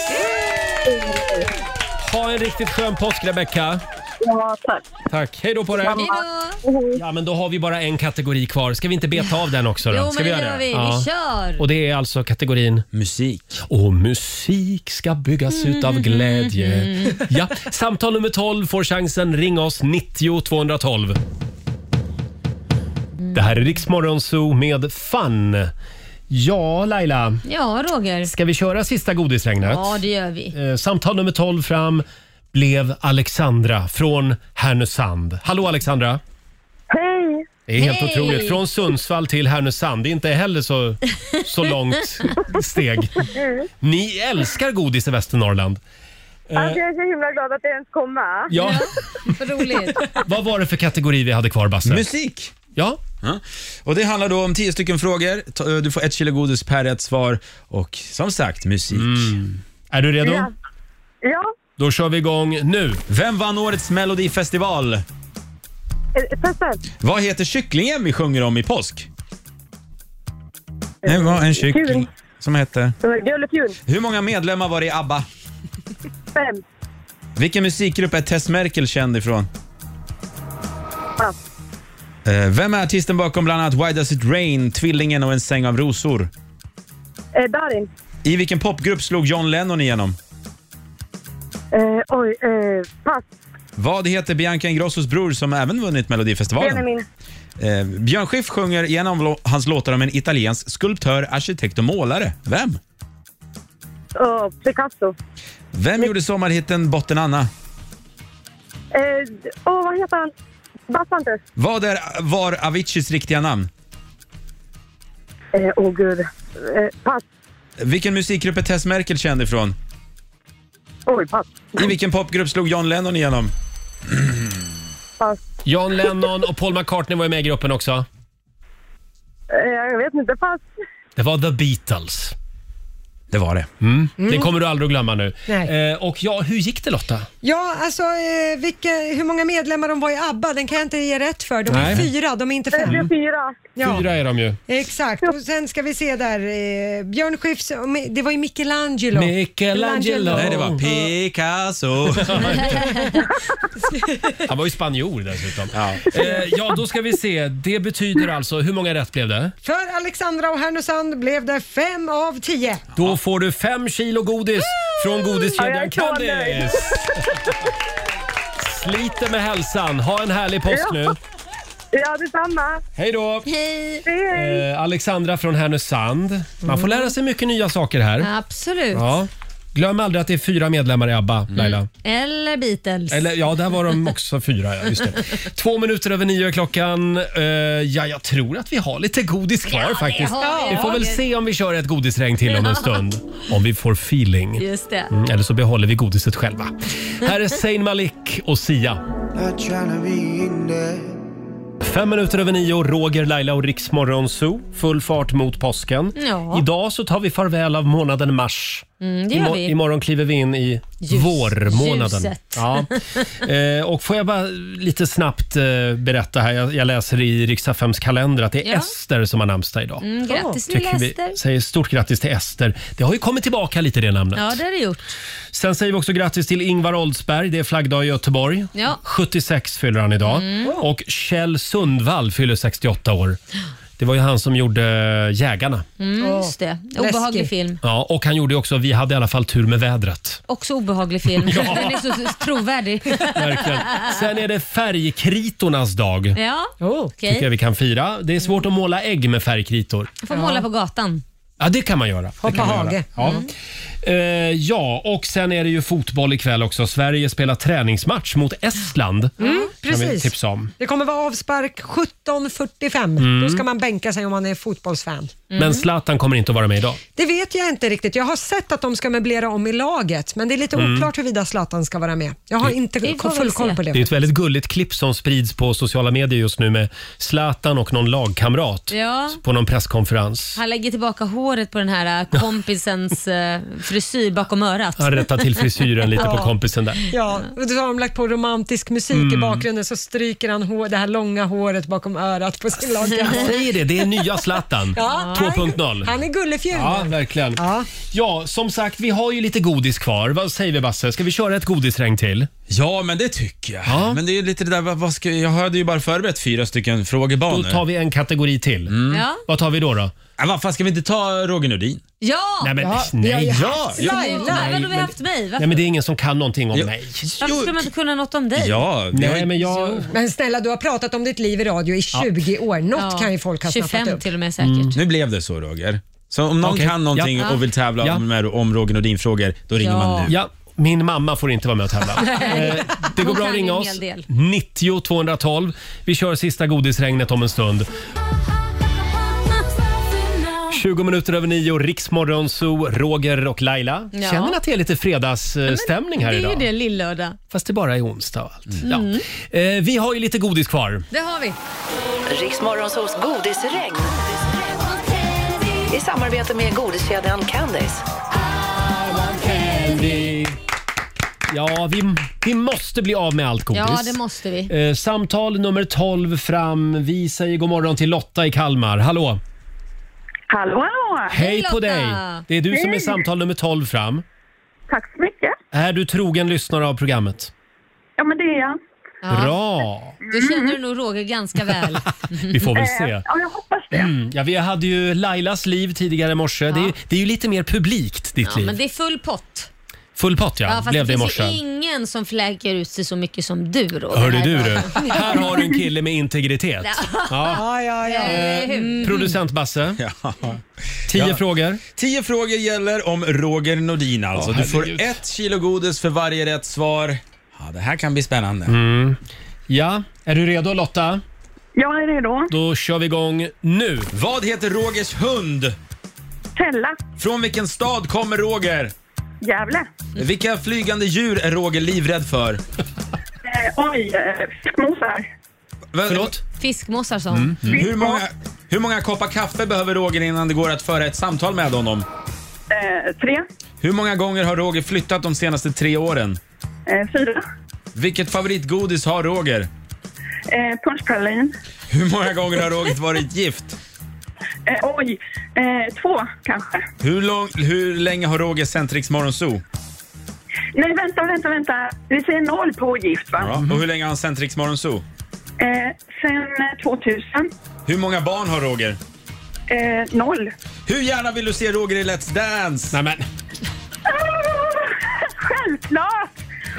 A: Ha en riktigt skön påsk Rebecca.
Q: Ja, tack.
A: Tack. Hej då på dig. Ja, men då har vi bara en kategori kvar. Ska vi inte beta av den också? Då?
E: Jo, men
A: Ska
E: det gör vi. Vi kör.
A: Och det är alltså kategorin? Musik. Och musik ska byggas ut av glädje. Ja, samtal nummer 12 får chansen. Ring oss 90 212. Det här är Riksmorgon Zoo med Fun. Ja, Laila.
E: Ja, Roger.
A: Ska vi köra sista godisregnet?
E: Ja, det gör vi.
A: Eh, Samtal nummer 12 fram blev Alexandra från Härnösand. Hallå Alexandra!
Q: Hej!
A: Det är helt
Q: Hej.
A: otroligt. Från Sundsvall till Härnösand. Det är inte heller så, så långt steg. Ni älskar godis i Västernorrland. Eh,
R: Alltså, jag är så himla glad att jag ens kom med.
A: Ja.
E: Roligt.
A: vad var det för kategori vi hade kvar, Basse?
C: Musik.
A: Ja.
C: Och Det handlar då om tio stycken frågor. Ta- eh, Du får ett kilo godis per rätt svar och som sagt musik.
A: Är du redo?
R: Ja. ja.
A: Då kör vi igång nu.
C: Vem vann årets melodifestival?
R: eh, Petter.
C: Vad heter kycklingen vi sjunger om i påsk?
R: Eh,
C: Det var en kyckling som hette...
R: Gullefjun.
C: Hur många medlemmar var det i ABBA?
R: Fem.
C: Vilken musikgrupp är Tess Merkel känd ifrån?
R: Pass.
C: Eh, Vem är artisten bakom bland annat Why Does It Rain, Tvillingen och En säng av rosor?
R: Eh, Darin.
C: I vilken popgrupp slog John Lennon igenom?
R: Eh, oj. Eh, pass.
C: Vad heter Bianca Ingrossos bror som även vunnit Melodifestivalen?
R: Benjamin.
C: Eh, Björn Skifs sjunger i en av lo- hans låtar om en italiensk skulptör, arkitekt och målare. Vem?
R: Oh, Picasso.
C: Vem gjorde sommarhitten Botten Anna?
R: Åh, eh, d- åh, vad heter han? Bassantes.
C: Vad är, var Aviciis riktiga namn?
R: Åh, eh, åh, gud. Eh, pass.
C: Vilken musikgrupp är Tess Merkel känd ifrån?
R: Oj, pass.
C: I vilken popgrupp slog John Lennon igenom?
R: Pass.
A: John Lennon och Paul McCartney var ju med i gruppen också.
R: Eh, jag vet inte. Pass.
A: Det var The Beatles.
C: Det var det.
A: Mm. Det kommer du aldrig att glömma nu.
B: Nej.
A: Eh, och ja, hur gick det Lotta?
B: Ja, alltså eh, vilka, hur många medlemmar de var i ABBA, den kan jag inte ge rätt för. De
A: Nej.
B: är fyra, de är inte fem.
A: Det är
R: fyra.
B: Ja.
A: Fyra är de ju.
B: Exakt, och sen ska vi se där. Eh, Björn Skifs, det var ju Michelangelo.
A: Michelangelo.
C: Nej, det var Picasso.
A: Han var ju spanjor dessutom. Ja. Eh, ja, då ska vi se. Det betyder alltså, hur många rätt blev det?
B: För Alexandra och Härnösand blev det fem av tio.
A: Då får du fem kilo godis från
B: Ja, jag
A: godiskedjan
B: är så nöjd.
A: Candice. Sliter med hälsan. Ha en härlig påsk
R: Ja.
A: nu.
R: Ja, detsamma.
A: Hej då!
E: Hej!
R: hej.
A: Eh, Alexandra från Härnösand. Man får lära sig mycket nya saker här.
E: Absolut.
A: Ja. Glöm aldrig att det är fyra medlemmar i ABBA,
E: Mm.
A: Laila.
E: Eller Beatles.
A: Eller, ja, där var de också fyra. Ja, just det. Två minuter över nio är klockan. Eh, ja, jag tror att vi har lite godis kvar faktiskt.
E: har vi.
A: Vi får väl se om vi kör ett godisregn till om en stund. Om vi får feeling.
E: Just det.
A: Mm, eller så behåller vi godiset själva. Här är Zayn Malik och Sia. Fem minuter över nio, Roger, Laila och Riksmorgon Zoo. Full fart mot påsken.
E: Ja.
A: Idag så tar vi farväl av månaden mars.
E: Mm, det gör
A: Imo-
E: vi.
A: Imorgon kliver vi in i
E: Ljus-
A: vårmånaden.
E: ljuset.
A: Ja. Eh, och får jag bara lite snabbt eh, berätta här. Jag, jag läser i Riksaffems kalender att det är
E: Ja.
A: Ester som har namnsdag idag.
E: Mm, grattis
A: Tycker
E: lilla
A: vi
E: Ester.
A: Säger stort grattis till Ester. Det har ju kommit tillbaka lite det namnet.
E: Ja, det har det gjort.
A: Sen säger vi också grattis till Ingvar Oldsberg. Det är flaggdag i Göteborg.
E: Ja.
A: 76 fyller han idag.
E: Mm.
A: Och Kjell Sundvall fyller 68 år. Det var ju han som gjorde Jägarna.
E: Mm, just det. Obehaglig
B: läskigt.
E: film.
A: Ja, och han gjorde ju också Vi hade i alla fall tur med vädret.
E: Också obehaglig film. Den är så så trovärdig.
A: Verkligen. Sen är det färgkritornas dag.
E: Ja, okej.
A: Tycker jag vi kan fira. Det är svårt att måla ägg med färgkritor.
E: Får måla på gatan.
A: Ja, det kan man göra. Det
E: Hoppa
A: kan man göra.
E: hage.
A: Ja. Eh, ja, och sen är det ju fotboll ikväll också. Sverige spelar träningsmatch mot Estland.
B: Mm,
A: Kan vi
B: precis.
A: tipsa om.
B: Det kommer vara avspark 17.45.
A: Mm.
B: Då ska man bänka sig om man är fotbollsfan.
E: Mm.
A: Men Zlatan kommer inte att vara med idag.
B: Det vet jag inte riktigt. Jag har sett att de ska möblera om i laget, men det är lite
A: Mm.
B: oklart huruvida Zlatan ska vara med. Jag har inte full koll på det.
A: Det är ett väldigt gulligt klipp som sprids på sociala medier just nu med Zlatan och någon lagkamrat
E: Ja.
A: på någon presskonferens.
E: Han lägger tillbaka håret på den här eh, kompisens eh, frisyr bakom örat.
A: Han rättar till frisyren lite på
B: Ja.
A: kompisen där.
B: Ja, och då har de lagt på romantisk musik i
A: Mm.
B: bakgrunden så stryker han hår, det här långa håret bakom örat på sin
A: Jag
B: lagkamrat.
A: säger det, det är nya Zlatan.
B: Ja.
A: 2.0.
B: Han är gullefjun.
A: Ja, verkligen. Ja. som sagt, vi har ju lite godis kvar. Vad säger vi Basse? Ska vi köra ett godisregn till?
C: Ja, men det tycker jag. Men det är ju lite det där, vad, vad ska, jag hade ju bara förberett fyra stycken frågebanor.
A: Då tar vi en kategori till.
E: Ja.
A: Vad tar vi då? då?
C: Ja, vad fan, ska vi inte ta Roger Nordin?
E: Ja!
A: Nej, men- Ja, nej, vi har ju ja, haft jo. Laila.
E: Nej,
A: Nej,
E: men då har vi
A: men-
E: haft mig. Varför,
A: Nej, men det är ingen som kan någonting om
C: Ja.
A: mig.
E: varför skulle man inte kunna något om dig?
A: Nej, men jag...
B: Men snälla, du har pratat om ditt liv i radio i 20 år. Något
E: Ja,
B: kan ju folk ha snappat
E: 25
B: upp.
E: till och med säkert.
C: Mm. Nu blev det så Roger. Så om någon
A: Okej.
C: kan någonting
A: Ja.
C: och vill tävla
A: Ja.
C: med om Roger Nordin-frågor, då ringer
E: Ja.
C: man nu.
A: Ja, min mamma får inte vara med och tävla. Eh, det går bra
E: Hon kan
A: att
E: ju
A: ringa
E: en
A: oss.
E: hel del.
A: 90 212. Vi kör sista godisregnet om en stund. 20 minuter över nio, Riksmorgon, Zoo, Roger och Laila.
E: Ja.
A: Känner ni att det är lite fredagsstämning här
E: det är
A: idag?
E: ju det, lillördag.
A: Fast det bara är onsdag och allt.
E: Mm.
A: Ja. Eh, vi har ju lite godis kvar.
E: Det har vi.
F: Riksmorgonsols godisregn. I samarbete med godiskedjan Candice.
A: Ja, vi, vi måste bli av med allt godis.
E: Ja, det måste vi.
A: Eh, samtal nummer 12 fram. Vi säger god morgon till Lotta i Kalmar. Hallå!
Q: Hallå, hallå!
A: Hej, på dig! Det är du som är
Q: Hej.
A: samtal nummer 12 fram.
Q: Tack så mycket.
A: Är du trogen lyssnare av programmet?
Q: Ja, men det är jag.
A: Bra!
E: Du Mm. känner du nog Roger ganska väl.
A: Vi får väl se.
Q: Eh, Ja, jag hoppas det.
A: Mm. Ja, vi hade ju Lailas liv tidigare i morse. Det, är, det är ju lite mer publikt, ditt
E: Ja,
A: liv.
E: men det är full pott.
A: Full pott, ja.
E: fast
A: blev det i
E: det
A: morse.
E: finns ju ingen som fläker ut sig så mycket som du Roger.
A: Hörde
E: här
A: du,
E: idag.
A: du. Här har du en kille med integritet. Ja.
B: Ja, ja,
A: Eh,
B: ja.
E: Mm.
A: Producent Basse. Tio
C: Ja.
A: frågor.
C: Tio frågor gäller om Roger Nordin alltså.
A: Åh,
C: du får
A: herregud.
C: ett kilo godis för varje rätt svar. Ja, det här kan bli spännande.
A: Mm. Ja, är du redo Lotta?
Q: Jag är redo.
A: Då kör vi igång nu.
C: Vad heter Rogers hund?
Q: Tella,
C: Från vilken stad kommer Roger?
Q: Gävle.
C: Vilka flygande djur är Roger livrädd för?
Q: Eh, oj, eh, fiskmosar.
C: Förlåt?
E: Fiskmåsar sa
A: Mm.
E: hon.
C: Hur, många, hur många koppar kaffe behöver Roger innan det går att föra ett samtal med honom?
Q: Eh, tre,
C: Hur många gånger har Roger flyttat de senaste tre åren?
Q: eh, fyra.
C: Vilket favoritgodis har Roger?
Q: Eh, Punschpralin.
C: Hur många gånger har Roger varit gift?
Q: Eh, oj, eh, två kanske.
C: Hur, lång, hur länge har Roger sänt Rix Morgonzoo?
Q: Nej, vänta, vänta, vänta. Vi säger noll på ogift, va?
C: Ja.
A: Mm.
C: Och hur länge har han sänt Rix Morgonzoo?
Q: Eh, sen eh, 2000.
C: Hur många barn har Roger?
Q: Eh, noll.
C: Hur gärna vill du se Roger i Let's
A: Nej,
C: Dance?
A: men,
Q: Ah, självklart!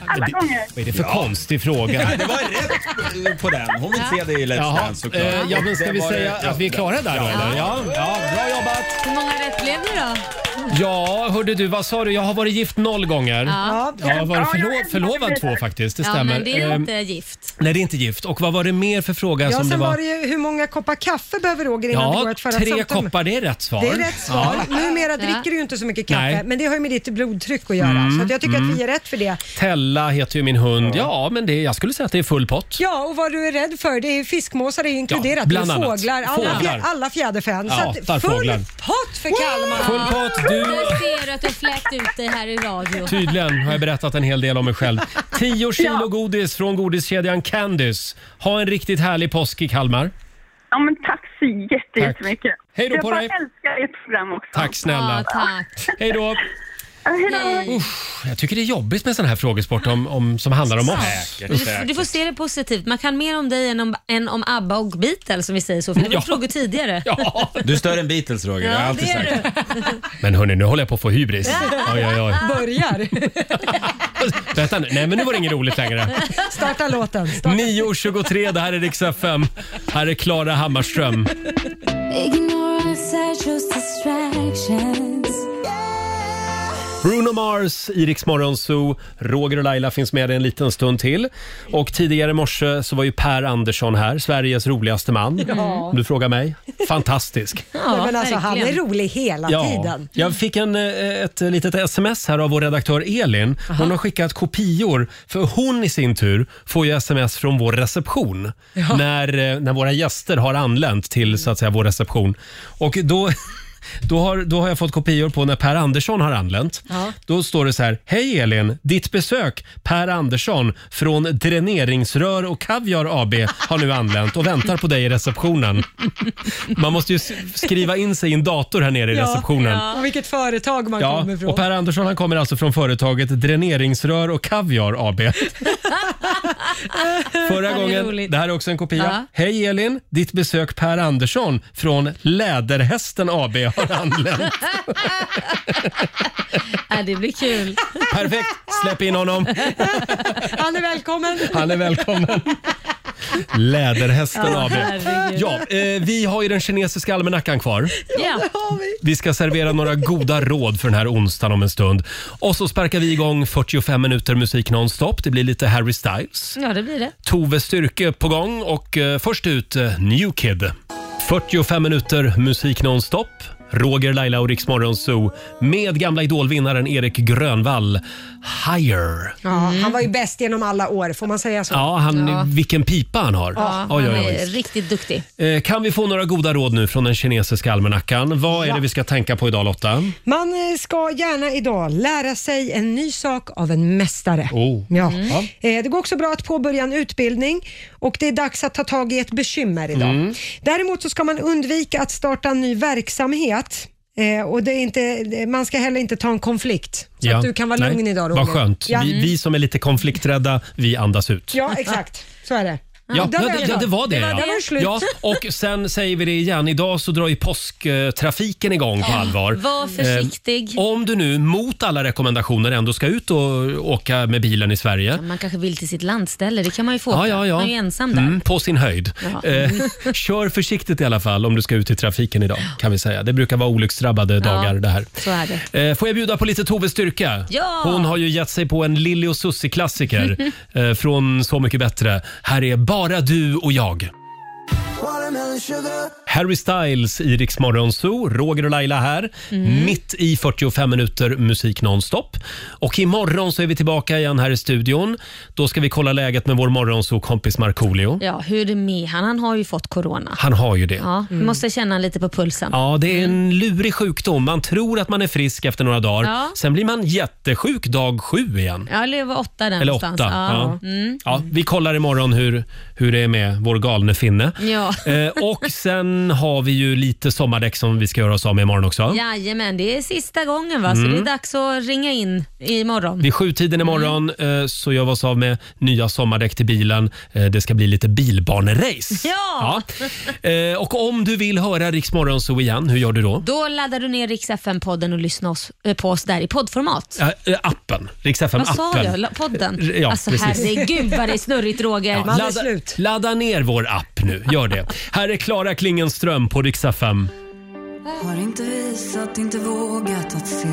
Q: Alla
A: det-
Q: gånger.
A: vad är det för konstig fråga?
C: Nej, det var rätt på den. Hon vill se dig i Let's
A: Jaha,
C: Dance såklart.
A: eh, ja, men ska
C: Det
A: vi
C: var det-
A: säga
C: ja,
A: att vi är klara där då,
C: ja.
A: eller? Ja, ja, bra jobbat.
E: Hur många rätt blev det då?
A: Ja, hörde du, vad sa du? Jag har varit gift noll gånger.
E: Ja.
A: Jag har varit
E: Ja, jag
A: förlo-
E: vet.
A: förlovad två faktiskt, det
E: Ja,
A: stämmer.
E: men det är
A: Eh,
E: inte gift.
A: Nej, det är inte gift. Och vad var det mer för fråga
B: Ja,
A: som det
B: sen
A: var?
B: var det ju hur många koppar kaffe behöver Roger innan det går
A: ja,
B: att föra ett
A: tre
B: samtal?
A: koppar, det är rätt svar.
B: Det är rätt svar.
A: Ja.
B: Numera dricker du ju inte så mycket kaffe,
A: Nej.
B: men det har ju med ditt blodtryck att göra.
A: Mm,
B: Så att jag tycker
A: mm.
B: att vi är rätt för det.
A: Tella Bella heter ju min hund. Ja, men det, jag skulle säga att det är full pott.
B: Ja, och vad du är rädd för, det är fiskmåsar är inkluderat.
A: bland
B: det är
A: annat.
B: fåglar, alla,
A: Fåglar.
B: fjä- alla fjäderfän.
A: Ja,
B: så att full
A: farfåglar.
B: pott för Kalmar.
A: Full pott, du-
E: Jag ser att du fläkt ut dig här i radio.
A: Tydligen har jag berättat en hel del om mig själv. 10 kilo
E: Ja.
A: godis från godiskedjan Candice. Ha en riktigt härlig påsk i Kalmar.
R: Ja, men tack så jätte,
A: Tack.
R: jättemycket.
A: Hej då
R: jag
A: på
R: bara
A: dig.
R: älskar ert program också.
A: Tack snälla. Hej då. Jag tycker det är jobbigt med sån här frågesport om, om, som handlar om oss.
E: Du, du får se det positivt. Man kan mer om dig än om, än om ABBA och Beatles som vi säger så. För det var
A: Ja.
E: frågor tidigare.
C: Du är större än Beatles Roger, det har jag alltid
E: det är
C: sagt.
A: Men hörni, nu håller jag på att få hybris. Oj, oj, oj.
B: Börjar.
A: Vänta nu. Nej, men nu var det inget roligt längre.
B: Starta låten.
A: 9.23, det här är Rix FM. Här är Klara Hammarström. Bruno Mars, Iriks Morgonzoo, Roger och Laila finns med dig en liten stund till. Och tidigare i morse så var ju Per Andersson här, Sveriges roligaste man.
B: Ja.
A: Om du frågar mig. Fantastisk.
B: Nej, men alltså, han är
E: verkligen.
B: rolig hela tiden.
A: Jag fick en, eh, ett litet sms här av vår redaktör Elin. Hon har skickat kopior, för hon i sin tur får ju sms från vår reception när, eh, när våra gäster har anlänt till så att säga, vår reception. Och då, då, har, då har jag fått kopior på när Per Andersson har anlänt.
E: Ja.
A: Då står det så här. Hej Elin! Ditt besök Per Andersson från Dräneringsrör och Kaviar AB har nu anlänt och väntar på dig i receptionen. Man måste ju s- skriva in sig i en dator här nere i receptionen.
B: Och vilket företag man
A: Ja,
B: kommer ifrån.
A: och Per Andersson han kommer alltså från företaget Dräneringsrör och Kaviar AB. Förra
E: Ja, det är
A: gången,
E: roligt.
A: det här är också en kopia.
E: Ja.
A: Hej Elin, ditt besök Per Andersson från Läderhästen AB har anlänt.
E: Ja, Äh, det blir kul.
A: Perfekt, släpp in honom.
B: Han är välkommen.
A: Han är välkommen. Läderhästen
B: Ja,
A: AB.
B: herregud.
A: Ja, eh, vi har ju den kinesiska almanackan kvar.
E: Ja.
A: Vi ska servera några goda råd för den här onsdagen om en stund. Och så sparkar vi igång 45 minuter musik nonstop. Det blir lite Harry Styles.
E: ja, det blir det.
A: Tove Styrke på gång och eh, först ut eh, New Kid. 45 minuter musik nonstop. Roger, Laila och Rix Morgon Zoo med gamla idolvinnaren Erik Grönvall. Higher.
B: Ja, Han var ju bäst genom alla år, får man säga så?
A: Ja, han, vilken pipa han har.
E: Ja,
A: Oj,
E: han
A: oj, oj.
E: är riktigt duktig.
A: Eh, Kan vi få några goda råd nu från den kinesiska almanackan? Vad är
B: Ja.
A: det vi ska tänka på idag Lotta?
B: Man eh, ska gärna idag lära sig en ny sak av en mästare.
A: Oh.
B: Ja.
A: Mm. Ja.
B: Eh, Det går också bra att påbörja en utbildning och det är dags att ta tag i ett bekymmer idag.
S: Mm.
B: Däremot så ska man undvika att starta en ny verksamhet eh, och det är inte, man ska heller inte ta en konflikt. Så
A: Ja.
B: att du kan vara
A: Nej.
B: lugn idag Roger.
A: Vad skönt.
B: Ja.
A: Vi,
E: Mm.
A: vi som är lite konflikträdda, vi andas ut.
B: ja, exakt. Så är det.
A: Ja, ja,
B: Där var
A: det,
B: jag
A: ja,
B: klar.
A: det var det.
B: där var
A: ja.
B: det slut.
A: Ja, och sen säger vi det igen. Idag så drar ju påsktrafiken igång på
E: Ja,
A: allvar.
E: var försiktig.
A: Eh, om du nu mot alla rekommendationer ändå ska ut och åka med bilen i Sverige.
E: Man kanske vill till sitt landställe, det kan man ju få.
A: Ja, ja, ja.
E: Man är ju ensam där.
A: Mm, på sin höjd.
E: Ja.
A: Eh, kör försiktigt i alla fall om du ska ut i trafiken idag. kan vi säga. Det brukar vara olycksdrabbade dagar det här.
E: Så är det.
A: Eh, Får jag bjuda på lite Tove Styrka?
E: Ja!
A: Hon har ju gett sig på en Lilly och Susie-klassiker eh, från Så mycket bättre. Här är Bara du och jag. Harry Styles i Rix Morgon Zoo, Roger och Laila här.
E: Mm.
A: Mitt i 45 minuter musik nonstop. Och imorgon så är vi tillbaka igen här i studion. Då ska vi kolla läget med vår morgonzoo-kompis Markoolio.
E: Ja, hur är det med han? Han har ju fått corona.
A: Han har ju det.
E: Ja, vi måste känna lite på pulsen.
A: Mm. Ja, det är en lurig sjukdom. Man tror att man är frisk efter några dagar.
E: Ja.
A: Sen blir man jättesjuk dag sju igen.
E: Ja, eller det var åtta där
A: Eller
E: någonstans.
A: åtta.
E: Ja.
A: Ja.
E: Mm.
A: Ja, vi kollar imorgon hur, hur det är med vår galne finne.
E: Ja.
A: Eh, och sen har vi ju lite sommardäck som vi ska göra oss av med imorgon också.
E: Jajamän, det är sista gången va?
A: Mm.
E: så det är dags att ringa in imorgon.
A: Vid sjutiden imorgon
E: Mm.
A: eh, så gör vi oss av med nya sommardäck till bilen. Eh, det ska bli lite bilbanerace.
E: Ja!
A: Ja. Eh, och om du vill höra Rix Morgonzoo igen, hur gör du då?
E: Då laddar du ner Rix FM-podden och lyssnar oss, eh, på oss där i poddformat.
A: Eh, eh, appen. Rix
E: Vad sa jag?
A: FM-appen.
E: La- Podden?
A: Ja,
E: alltså
A: precis.
E: herregud vad det är snurrigt Roger.
A: Ja, ladda, ladda ner vår app nu, gör det. Här är Klara Klingenström på Rix FM.
O: Har inte visat, inte vågat att se.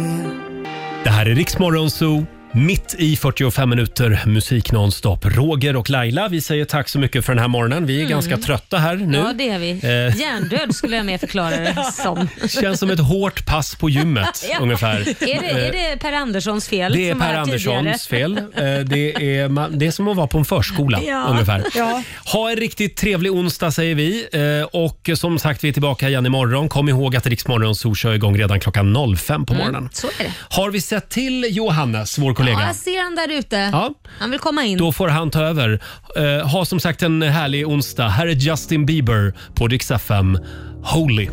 A: Det här är Rix Morgonzoo. Mitt i 45 minuter musik nonstop. Roger och Laila, vi säger tack så mycket för den här morgonen. Vi är
E: Mm.
A: ganska trötta här nu.
E: Ja, det är vi.
A: Eh.
E: Hjärndöd skulle jag mer förklara det som.
A: Känns som ett hårt pass på gymmet
E: Ja.
A: ungefär.
E: Är det, är det Per Anderssons fel?
A: Det är
E: som var
A: Per
E: här tidigare?
A: Anderssons fel. Eh, Det är, ma- det är som att vara på en förskola
E: Ja.
A: ungefär.
E: Ja.
A: Ha en riktigt trevlig onsdag säger vi. Eh, Och som sagt, vi är tillbaka igen imorgon. Kom ihåg att Riksmorgon Zoo kör igång redan klockan 05 på morgonen.
E: Mm, så är det.
A: Har vi sett till Johannes, vår
E: Ja,
A: kollega?
E: jag ser han där ute.
A: Ja.
E: Han vill komma in.
A: Då får han ta över. Eh, Ha som sagt en härlig onsdag. Här är Justin Bieber på Rix FM. Holy.
O: I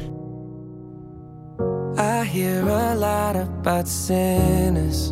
O: hear a lot about sinners.